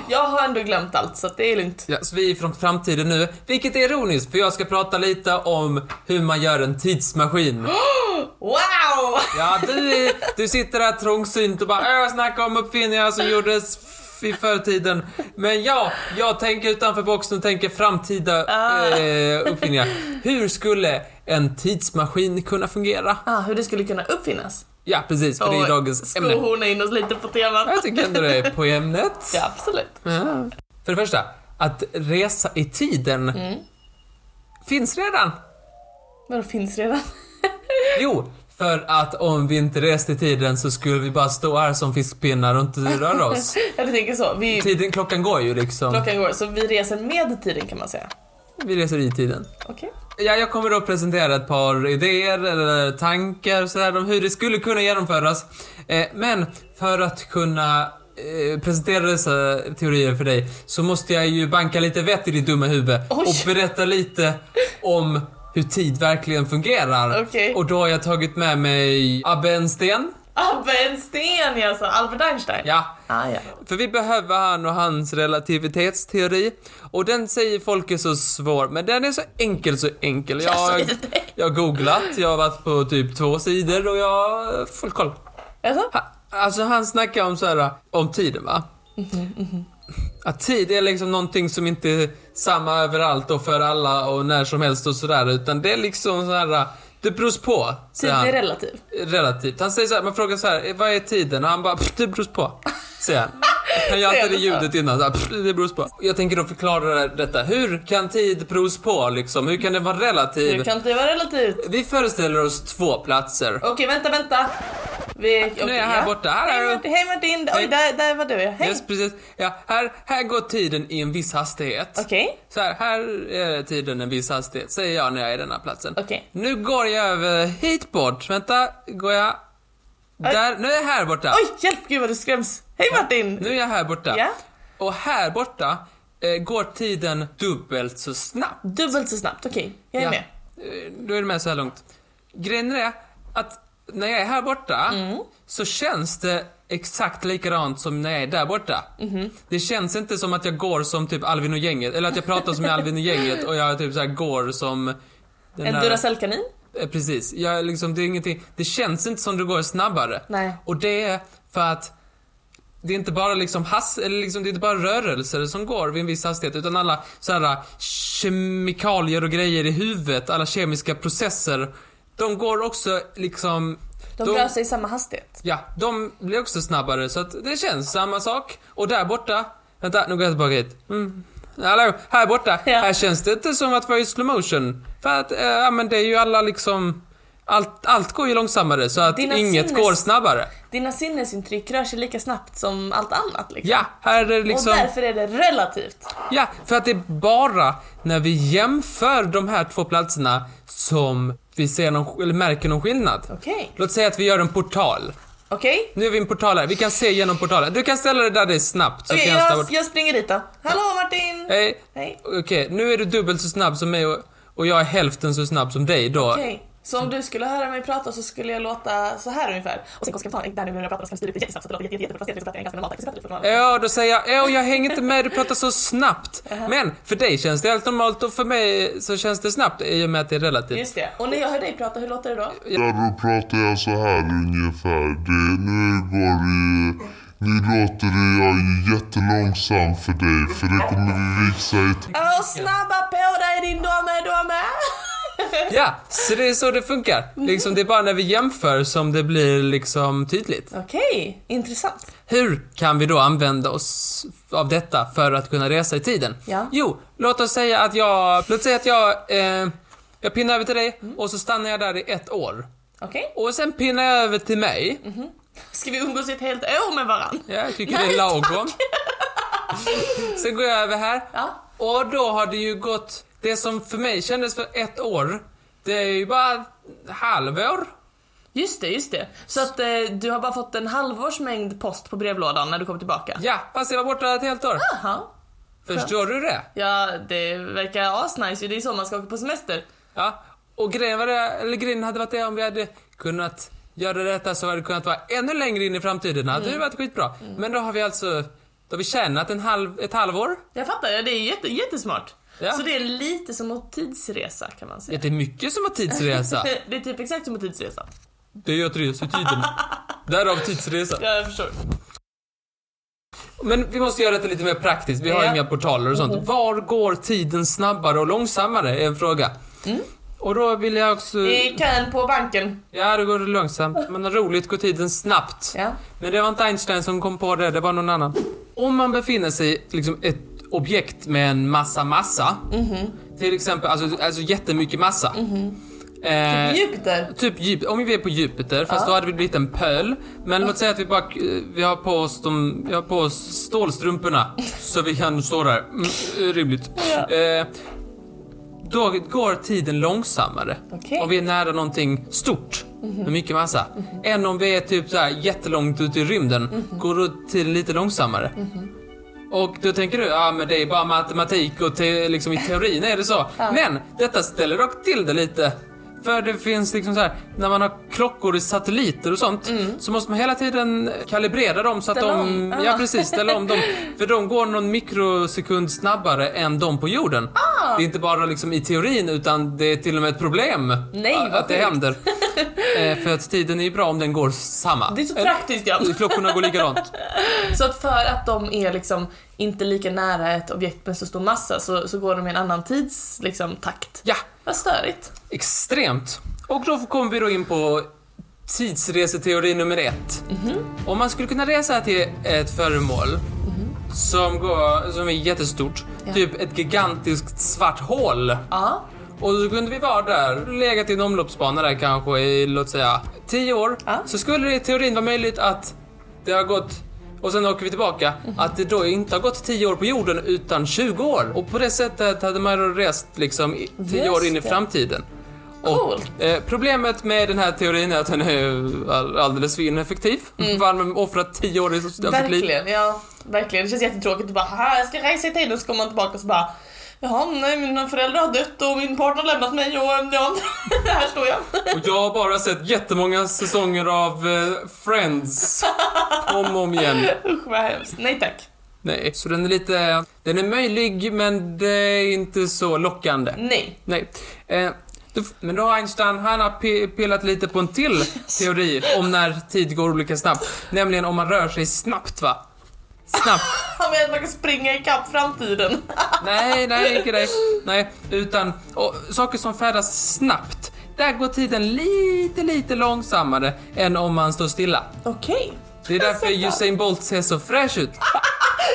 Speaker 2: Jag har ändå glömt allt så att det är lugnt.
Speaker 1: Ja, så vi är från framtiden nu, vilket är ironiskt för jag ska prata lite om hur man gör en tidsmaskin.
Speaker 2: Wow!
Speaker 1: Ja, du, är, du sitter där trångsynt och bara öh, snacka om uppfinningar som gjordes f- i förtiden. Men ja, jag tänker utanför boxen och tänker framtida eh, uppfinningar. Hur skulle en tidsmaskin kunna fungera?
Speaker 2: Ah, hur det skulle kunna uppfinnas.
Speaker 1: Ja, precis, för det är
Speaker 2: Och
Speaker 1: dagens ämne.
Speaker 2: Skohorna in oss lite på temat.
Speaker 1: Jag tycker ändå det är på ämnet.
Speaker 2: Ja, absolut.
Speaker 1: För det första, att resa i tiden finns redan.
Speaker 2: Men de finns redan.
Speaker 1: Jo, för att om vi inte reste i tiden så skulle vi bara stå här som fiskpinnar och inte röra oss.
Speaker 2: Jag tänker så. Vi,
Speaker 1: Tiden, klockan går ju liksom.
Speaker 2: klockan går, så vi reser med tiden kan man säga.
Speaker 1: Vi reser i tiden.
Speaker 2: Okej.
Speaker 1: Ja, jag kommer att presentera ett par idéer eller tankar och sådär om hur det skulle kunna genomföras. Eh, men för att kunna eh, presentera dessa teorier för dig så måste jag ju banka lite vett i ditt dumma huvud
Speaker 2: Oj.
Speaker 1: och berätta lite om hur tid verkligen fungerar.
Speaker 2: Okej.
Speaker 1: Och då har jag tagit med mig Abbe Ensten.
Speaker 2: Abbe Ah, en sten alltså, Albert Einstein.
Speaker 1: Ja,
Speaker 2: Ah, ja.
Speaker 1: för vi behöver han och hans relativitetsteori. Och den säger folk är så svår, men den är så enkel så enkel. Jag,
Speaker 2: så lite.
Speaker 1: jag har googlat, jag har varit på typ två sidor och jag har full koll.
Speaker 2: Alltså?
Speaker 1: Ha- Alltså han snackar om så här, om tiden va?
Speaker 2: Mm-hmm,
Speaker 1: Att tid är liksom någonting som inte är samma överallt och för alla och när som helst och sådär utan det är liksom så här. Det beror på, säger
Speaker 2: Tiden är
Speaker 1: han
Speaker 2: relativ.
Speaker 1: relativt. Han säger så här, man frågar så här, "Eh, vad är tiden? Och han bara, "Pff, det beror på. Säger han. Han gör alltid det
Speaker 2: Säger han så?
Speaker 1: ljudet innan, så här, "Pff, det beror på. Jag tänker då förklara detta. Hur kan tid bros på liksom? Hur kan det vara
Speaker 2: Du
Speaker 1: relativ?
Speaker 2: kan inte vara relativt.
Speaker 1: Vi föreställer oss två platser.
Speaker 2: Okej, vänta, vänta. Vi, okej,
Speaker 1: jag här
Speaker 2: ja.
Speaker 1: borta. Här är
Speaker 2: hej,
Speaker 1: du.
Speaker 2: Martin, hej Martin! Oj,
Speaker 1: Hej.
Speaker 2: där, där var du ja. Hej!
Speaker 1: Yes, precis. Ja, här, här går tiden i en viss hastighet.
Speaker 2: Okej.
Speaker 1: Så här, här är tiden en viss hastighet, säger jag när jag är i den här platsen.
Speaker 2: Okej.
Speaker 1: Nu går jag över hit bort. Vänta, går jag... Där, nu är jag här borta.
Speaker 2: Oj, hjälp! Gud vad du skräms. Hej Martin!
Speaker 1: Nu är jag här borta.
Speaker 2: Ja.
Speaker 1: Och här borta eh, går tiden dubbelt så snabbt.
Speaker 2: Dubbelt så snabbt, okej. Jag är med.
Speaker 1: Eh, Då är du med så här långt. Grejen är att när jag är här borta
Speaker 2: Mm.
Speaker 1: så känns det exakt likadant som när jag är där borta.
Speaker 2: Mhm.
Speaker 1: Det känns inte som att jag går som typ Alvin och gänget, eller att jag pratar som i Alvin och gänget och jag typ så här går som... den
Speaker 2: En
Speaker 1: här-
Speaker 2: Duracellkanin?
Speaker 1: Eh, Precis. Jag, är liksom, det, är ingenting, det känns inte som det går snabbare.
Speaker 2: Nej.
Speaker 1: Och det är för att det är inte bara liksom has, eller liksom, det är inte bara rörelser som går vid en viss hastighet utan alla så här äh, kemikalier och grejer i huvudet, alla kemiska processer. De går också liksom...
Speaker 2: De,
Speaker 1: de-
Speaker 2: rör sig i samma hastighet.
Speaker 1: Ja, de blir också snabbare så att det känns samma sak. Och där borta, vänta nu går jag tillbaka hit. Mm. Hallå, här borta,
Speaker 2: Ja.
Speaker 1: här känns det inte som att vara i slow motion. För att, eh, ja men det är ju alla liksom, allt, allt går ju långsammare så att
Speaker 2: Dina
Speaker 1: inget
Speaker 2: sinnes-
Speaker 1: går snabbare.
Speaker 2: Dina sinnesintryck rör sig lika snabbt som allt annat liksom.
Speaker 1: Ja, här är det liksom...
Speaker 2: Och därför är det relativt.
Speaker 1: Ja, för att det är bara när vi jämför de här två platserna som vi ser någon, eller märker någon skillnad.
Speaker 2: Okej.
Speaker 1: Låt säga att vi gör en portal.
Speaker 2: Okej?
Speaker 1: Nu är vi i en portal här, vi kan se genom portalen. Du kan ställa dig där det är snabbt så
Speaker 2: Okej,
Speaker 1: kan jag ställa bort.
Speaker 2: jag, jag springer dit då. Hallå Martin!
Speaker 1: Hej.
Speaker 2: Hej.
Speaker 1: Okej, nu är du dubbelt så snabb som mig och, och jag är hälften så snabb som dig då.
Speaker 2: Okej, så om du skulle höra mig prata så skulle jag låta så här ungefär. Och sen kom spontan, där nu när jag pratar så kan styret bli jättesnabbt så det låter jätte- jätte- jättefrustrerande, så att det är en ganska normal takt. Så det är normalt.
Speaker 1: Ja, då säger jag, "Åh, jag hänger inte med, du pratar så snabbt.
Speaker 2: Uh-huh.
Speaker 1: Men för dig känns det helt normalt och för mig så känns det snabbt i och med att det är relativt.
Speaker 2: Just det. Och när jag hör dig prata, hur låter det då?
Speaker 4: Där då pratar jag så här ungefär. Det, nu går det... Nu låter det jag är jättelångsam för dig för det kommer vi visa i
Speaker 2: Åh, snabba på dig din dame, dame!
Speaker 1: Ja, så det är så det funkar.
Speaker 2: Mm.
Speaker 1: Liksom, det är bara när vi jämför som det blir liksom tydligt.
Speaker 2: Okej, intressant.
Speaker 1: Hur kan vi då använda oss av detta för att kunna resa i tiden?
Speaker 2: Ja.
Speaker 1: Jo, låt oss säga
Speaker 2: Mm.
Speaker 1: att jag, låt säga att jag, eh, jag pinnar över till dig och så stannar jag där i ett år.
Speaker 2: Okej?
Speaker 1: Och sen pinnar jag över till mig.
Speaker 2: Ska vi umgås i ett helt år med varann?
Speaker 1: Ja, jag tycker det
Speaker 2: Mhm. Nej,
Speaker 1: är lagom. Sen går jag över här.
Speaker 2: Ja.
Speaker 1: Och då har det ju gått... Det som för mig kändes för ett år, det är ju bara ett halvår.
Speaker 2: Just det, just det. Så att eh, du har bara fått en halvårsmängd post på brevlådan när du kommer tillbaka?
Speaker 1: Ja, fast jag var borta ett helt år.
Speaker 2: Jaha.
Speaker 1: Förstår du det?
Speaker 2: Ja, det verkar asnice ju. Det är så man ska åka på semester.
Speaker 1: Ja. Och grejen, var det, eller grejen hade varit det om vi hade kunnat göra detta så hade det kunnat vara ännu längre in i framtiden. Det hade
Speaker 2: Mm.
Speaker 1: ju varit skitbra. Men då har vi alltså... Då har vi tjänat en halv, ett halvår.
Speaker 2: Jag fattar, ja, det är jätte, jättesmart.
Speaker 1: Ja.
Speaker 2: Så det är lite som att tidsresa kan man säga.
Speaker 1: Det är mycket som har tidsresa.
Speaker 2: Det är typ exakt som att tidsresa.
Speaker 1: Det är ju att resa i tiden. Därav tidsresa.
Speaker 2: Ja, jag förstår.
Speaker 1: Men vi måste göra detta lite mer praktiskt. Vi har
Speaker 2: Ja. Mm.
Speaker 1: inga portaler och sånt. Var går tiden snabbare och långsammare? Är en fråga.
Speaker 2: Mm.
Speaker 1: Och då vill jag också...
Speaker 2: I kön på banken.
Speaker 1: Ja, det går långsamt. Men roligt går tiden snabbt.
Speaker 2: Ja.
Speaker 1: Men det var inte Einstein som kom på det, det var någon annan. Om man befinner sig i liksom ett objekt med en massa massa.
Speaker 2: Mhm.
Speaker 1: Till exempel, alltså, alltså jättemycket massa. Eh,
Speaker 2: Jupiter.
Speaker 1: Typ djup, om vi är på Jupiter, fast då hade vi blivit en pöl. Men låt säga att vi bara, eh, vi har på oss de, vi har på oss stålstrumporna. så vi kan stå där. Mm, eh, rimligt. Eh, då går tiden långsammare.
Speaker 2: Okej.
Speaker 1: Om vi är nära någonting stort, med mycket massa. Än om vi är typ så här jättelångt ute i rymden, går då tiden lite långsammare. Och då tänker du, ja men det är bara matematik och te- liksom i teorin är det så. Men detta ställer dock till det lite. För det finns liksom så här, när man har klockor i satelliter och sånt så måste man hela tiden kalibrera dem så att
Speaker 2: Mm. Ställa
Speaker 1: de...
Speaker 2: om.
Speaker 1: Ja
Speaker 2: Ah.
Speaker 1: precis, ställa om dem. För de går någon mikrosekund snabbare än de på jorden.
Speaker 2: Ah!
Speaker 1: Det är inte bara liksom i teorin utan det är till och med ett problem
Speaker 2: Nej,
Speaker 1: att,
Speaker 2: vad
Speaker 1: att det
Speaker 2: sjukt.
Speaker 1: händer. Eh, för att tiden är ju bra om den går samma.
Speaker 2: Det är så praktiskt ja.
Speaker 1: Eh, Klockorna går likadant.
Speaker 2: Så att för att de är liksom inte lika nära ett objekt med så stor massa så, så går de i en annan tids liksom, takt.
Speaker 1: Ja,
Speaker 2: Vad störigt.
Speaker 1: Extremt. Och då kommer vi då in på tidsreseteori nummer ett. Om man skulle kunna resa till ett föremål som, går, som är jättestort, typ ett gigantiskt svart hål.
Speaker 2: Ja.
Speaker 1: Och så kunde vi vara där, legat i en omloppsbana där kanske i låt säga 10 år.
Speaker 2: Ja.
Speaker 1: Så skulle det i teorin vara möjligt att det har gått och sen åker vi tillbaka,
Speaker 2: Mhm.
Speaker 1: att det då inte har gått 10 år på jorden utan 20 år. Och på det sättet hade man då rest liksom 10 år
Speaker 2: Just
Speaker 1: in i
Speaker 2: det.
Speaker 1: framtiden.
Speaker 2: Coolt.
Speaker 1: Och, eh, problemet med den här teorin är att den är all- alldeles för ineffektiv. Varför mm. offra 10 år i sitt liv?
Speaker 2: Verkligen, ja. Verkligen. Det känns jättetråkigt att bara haha, jag ska resa i tiden och så kommer man tillbaka och så bara Jaha, nej mina föräldrar har dött och min partner har lämnat mig och eh, ja, här står jag.
Speaker 1: Och jag har bara sett jättemånga säsonger av eh, Friends om och om igen.
Speaker 2: Usch vad hemskt. Nej tack.
Speaker 1: Nej, så den är lite... Den är möjlig, men det är inte så lockande.
Speaker 2: Nej.
Speaker 1: Nej. Eh, då, men då har Einstein, han har pi- pillat lite på en till teori om när tid går olika snabbt. Nämligen om man rör sig snabbt, va? Snabbt.
Speaker 2: Han menar att man kan springa ikapp framtiden.
Speaker 1: Nej, nej, inte det. Nej, utan och, saker som färdas snabbt. Där går tiden lite, lite långsammare än om man står stilla.
Speaker 2: Okej.
Speaker 1: Det är därför Usain Bolt ser så fräsch ut.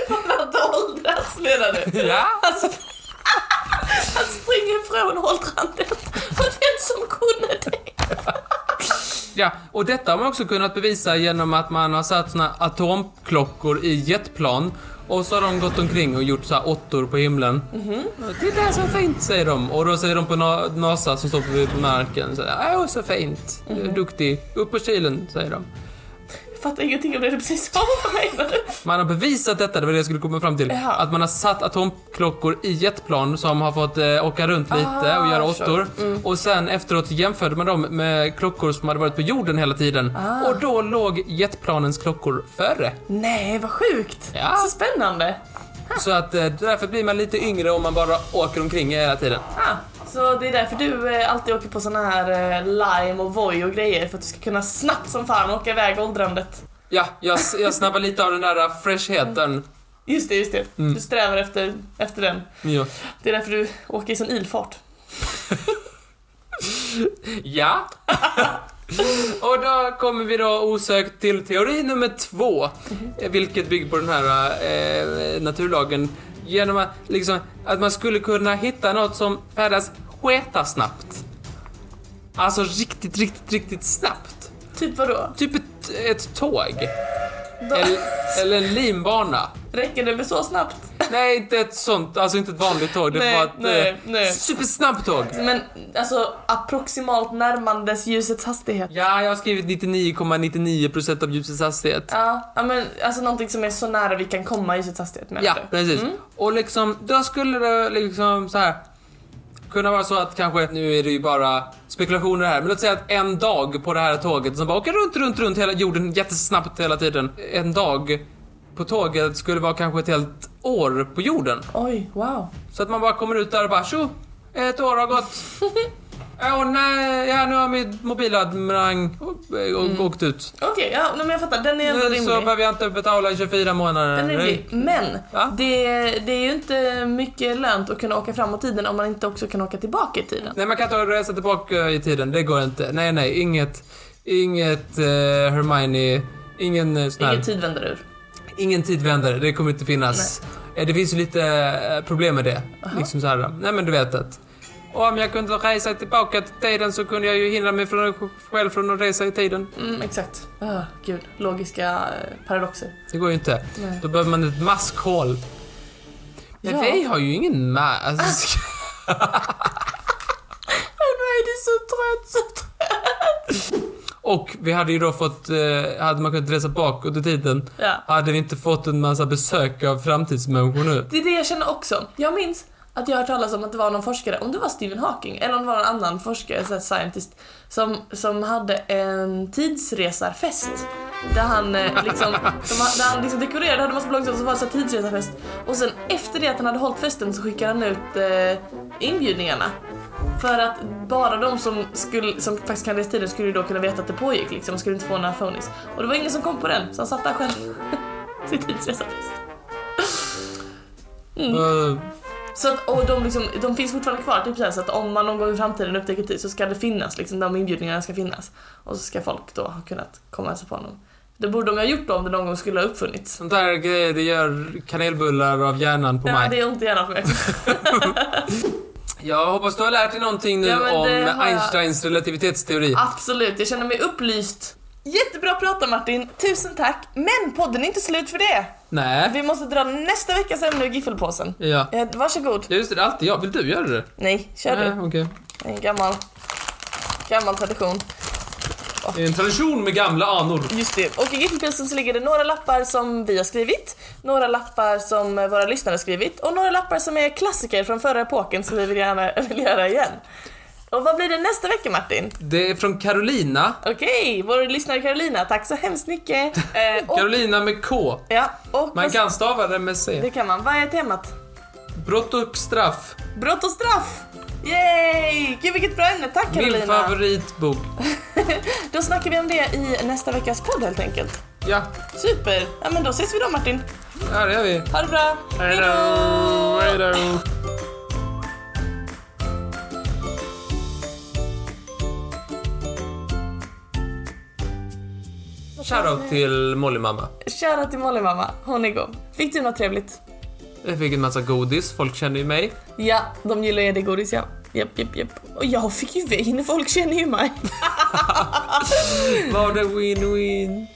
Speaker 2: Han har inte åldrats menar du?
Speaker 1: Ja.
Speaker 2: Alltså, han springer ifrån åldrandet. Och den som kunde det.
Speaker 1: Ja, och detta har man också kunnat bevisa genom att man har satt såna atomklockor i jetplan och så har de gått omkring och gjort så här åttor på himlen. Det är där så fint, säger de. Och då säger de på Na- NASA som står på marken, så här, åh så fint, du är duktig, upp på kilen, säger de.
Speaker 2: Jag fattar ingenting om det du precis sa. Vad menar du?
Speaker 1: Man har bevisat detta, det var det jag skulle komma fram till.
Speaker 2: Jaha.
Speaker 1: Att man har satt atomklockor i jetplan som har fått eh, åka runt lite och göra åttor. Och sen efteråt jämförde man dem med klockor som hade varit på jorden hela tiden. Och då låg jetplanens klockor före.
Speaker 2: Nej, vad sjukt.
Speaker 1: Ja.
Speaker 2: Så spännande.
Speaker 1: Så att eh, därför blir man lite yngre om man bara åker omkring hela tiden.
Speaker 2: Ah, så det är därför du eh, alltid åker på såna här eh, lime och voi och grejer för att du ska kunna snabbt som fan åka iväg åldrandet.
Speaker 1: Ja, jag, jag snabbar lite av den där eh, fräschheten.
Speaker 2: Just det, just det. Du strävar efter, efter den.
Speaker 1: Ja.
Speaker 2: Det är därför du åker i sån ilfart.
Speaker 1: Ja. Och då kommer vi då osökt till teori nummer två, vilket bygger på den här eh, naturlagen. Genom att, liksom, att man skulle kunna hitta något som färdas sketa snabbt. Alltså riktigt, riktigt, riktigt snabbt.
Speaker 2: Typ vadå?
Speaker 1: Typ ett, ett tåg.
Speaker 2: Då,
Speaker 1: Eller, eller en linbana.
Speaker 2: Räcker det med så snabbt?
Speaker 1: Nej, inte ett sånt, alltså inte ett vanligt tåg. Det
Speaker 2: Nej,
Speaker 1: var ett
Speaker 2: nej,
Speaker 1: eh,
Speaker 2: nej.
Speaker 1: supersnabbt tåg.
Speaker 2: Men alltså approximalt närmandes ljusets hastighet.
Speaker 1: Ja, jag har skrivit 99,99% av ljusets hastighet.
Speaker 2: Ja, ja, men alltså någonting som är så nära vi kan komma ljusets hastighet menar
Speaker 1: Ja,
Speaker 2: du?
Speaker 1: precis. Och liksom, då skulle det liksom så här kunna vara så att kanske, nu är det ju bara spekulationer här, men låt säga att en dag på det här tåget som bara åker runt, runt, runt hela jorden jättesnabbt hela tiden. En dag på tåget skulle vara kanske ett helt år på jorden.
Speaker 2: Oj, wow.
Speaker 1: Så att man bara kommer ut där och bara tjo, ett år har gått. Åh nej, ja, nu har min mobilabonnemang och- och- åkt ut.
Speaker 2: Okej, ja, nej, men jag fattar. Mm. Den är ändå
Speaker 1: Nu så
Speaker 2: rimlig.
Speaker 1: behöver jag inte betala i 24 månader.
Speaker 2: Den är rimlig. Men
Speaker 1: Va?
Speaker 2: det, det är ju inte mycket lönt att kunna åka framåt i tiden om man inte också kan åka tillbaka i tiden.
Speaker 1: Nej, man kan inte resa tillbaka i tiden. Det går inte. Nej, nej, inget... Inget eh, Hermione... Ingen eh, sån här...
Speaker 2: Ingen tid vänder ur.
Speaker 1: ingen tidvändare. Det kommer inte finnas. Eh, Det finns ju lite eh, problem med det. Liksom så här. Nej, men du vet att... Om jag kunde resa tillbaka till tiden så kunde jag ju hindra mig från, själv från att resa i tiden.
Speaker 2: Mm, exakt. Ah, gud, logiska eh, paradoxer.
Speaker 1: Det går ju inte.
Speaker 2: Nej.
Speaker 1: Då behöver man ett maskhål. Men
Speaker 2: Ja.
Speaker 1: vi har ju ingen mask. Alltså,
Speaker 2: Åh nej, det är så trött, så trött.
Speaker 1: och vi hade ju då fått... Eh, hade man kunnat resa bakåt i tiden
Speaker 2: Ja.
Speaker 1: Hade vi inte fått en massa besök av framtidsmänniskor nu?
Speaker 2: Det är det jag känner också. Jag minns att jag har hört talas om att det var någon forskare, om det var Stephen Hawking eller om det var någon annan forskare, så här scientist, som, som hade en tidsresarfest. Där han eh, liksom, de, ha- där han liksom dekorerade, hade massa bloggar som var det så här tidsresarfest. Och sen efter det att han hade hållit festen så skickade han ut eh, inbjudningarna. För att bara de som, skulle, som faktiskt kan resa i tiden skulle ju då kunna veta att det pågick liksom, och skulle inte få några phonies. Och det var ingen som kom på den, så han satt där själv. Sin tidsresarfest. Mm.
Speaker 1: Eh,
Speaker 2: Så att, och de, liksom, de finns fortfarande kvar, typ så, här, så att om man någon gång i framtiden upptäcker tid så ska det finnas, liksom, de inbjudningarna ska finnas. Och så ska folk då ha kunnat komma och hälsa på honom. Det borde de ha gjort då om det någon gång skulle ha uppfunnits.
Speaker 1: sånt där grejer, det gör kanelbullar av hjärnan på
Speaker 2: Ja,
Speaker 1: mig.
Speaker 2: det är ont i hjärnan för mig.
Speaker 1: Jag hoppas du har lärt dig någonting nu
Speaker 2: Ja, men
Speaker 1: om
Speaker 2: det har jag.
Speaker 1: Einsteins relativitetsteori.
Speaker 2: Absolut, jag känner mig upplyst. Jättebra pratat Martin, tusen tack. Men podden är inte slut för det.
Speaker 1: Nej.
Speaker 2: Vi måste dra nästa veckas ämne ur giffelpåsen.
Speaker 1: Ja.
Speaker 2: Eh, Varsågod.
Speaker 1: Just det, det är alltid jag. Vill du göra det?
Speaker 2: Nej, kör
Speaker 1: Nej,
Speaker 2: du.
Speaker 1: okej.
Speaker 2: Det är En gammal, gammal tradition.
Speaker 1: Det är en tradition med gamla anor.
Speaker 2: Just det. Och i giffelpilsen så ligger det några lappar som vi har skrivit, några lappar som eh, våra lyssnare har skrivit och några lappar som är klassiker från förra epoken som vi vill gärna vill göra igen. Och vad blir det nästa vecka Martin?
Speaker 1: Det är från Carolina.
Speaker 2: Okej, vår lyssnare Carolina, tack så hemskt mycket! Eh, och,
Speaker 1: Carolina med K.
Speaker 2: ja, och
Speaker 1: Man kan stava det med C.
Speaker 2: Det kan man. Vad är temat?
Speaker 1: Brott och straff.
Speaker 2: Brott och straff! Yay! Gud vilket bra ämne, tack Carolina!
Speaker 1: Min favoritbok.
Speaker 2: Då snackar vi om det i nästa veckas podd helt enkelt.
Speaker 1: Ja,
Speaker 2: Super! Ja men då ses vi då Martin.
Speaker 1: här är vi.
Speaker 2: Ha det bra! Hejdå!
Speaker 1: Hejdå. Shoutout till Molly mamma.
Speaker 2: Shoutout till Molly mamma, hon är god. Fick du något trevligt?
Speaker 1: Jag fick en massa godis, folk känner ju mig.
Speaker 2: Ja, de gillar ju det godis ja. Japp, japp, japp. Och jag fick ju vin, folk känner ju mig.
Speaker 1: Var det win-win?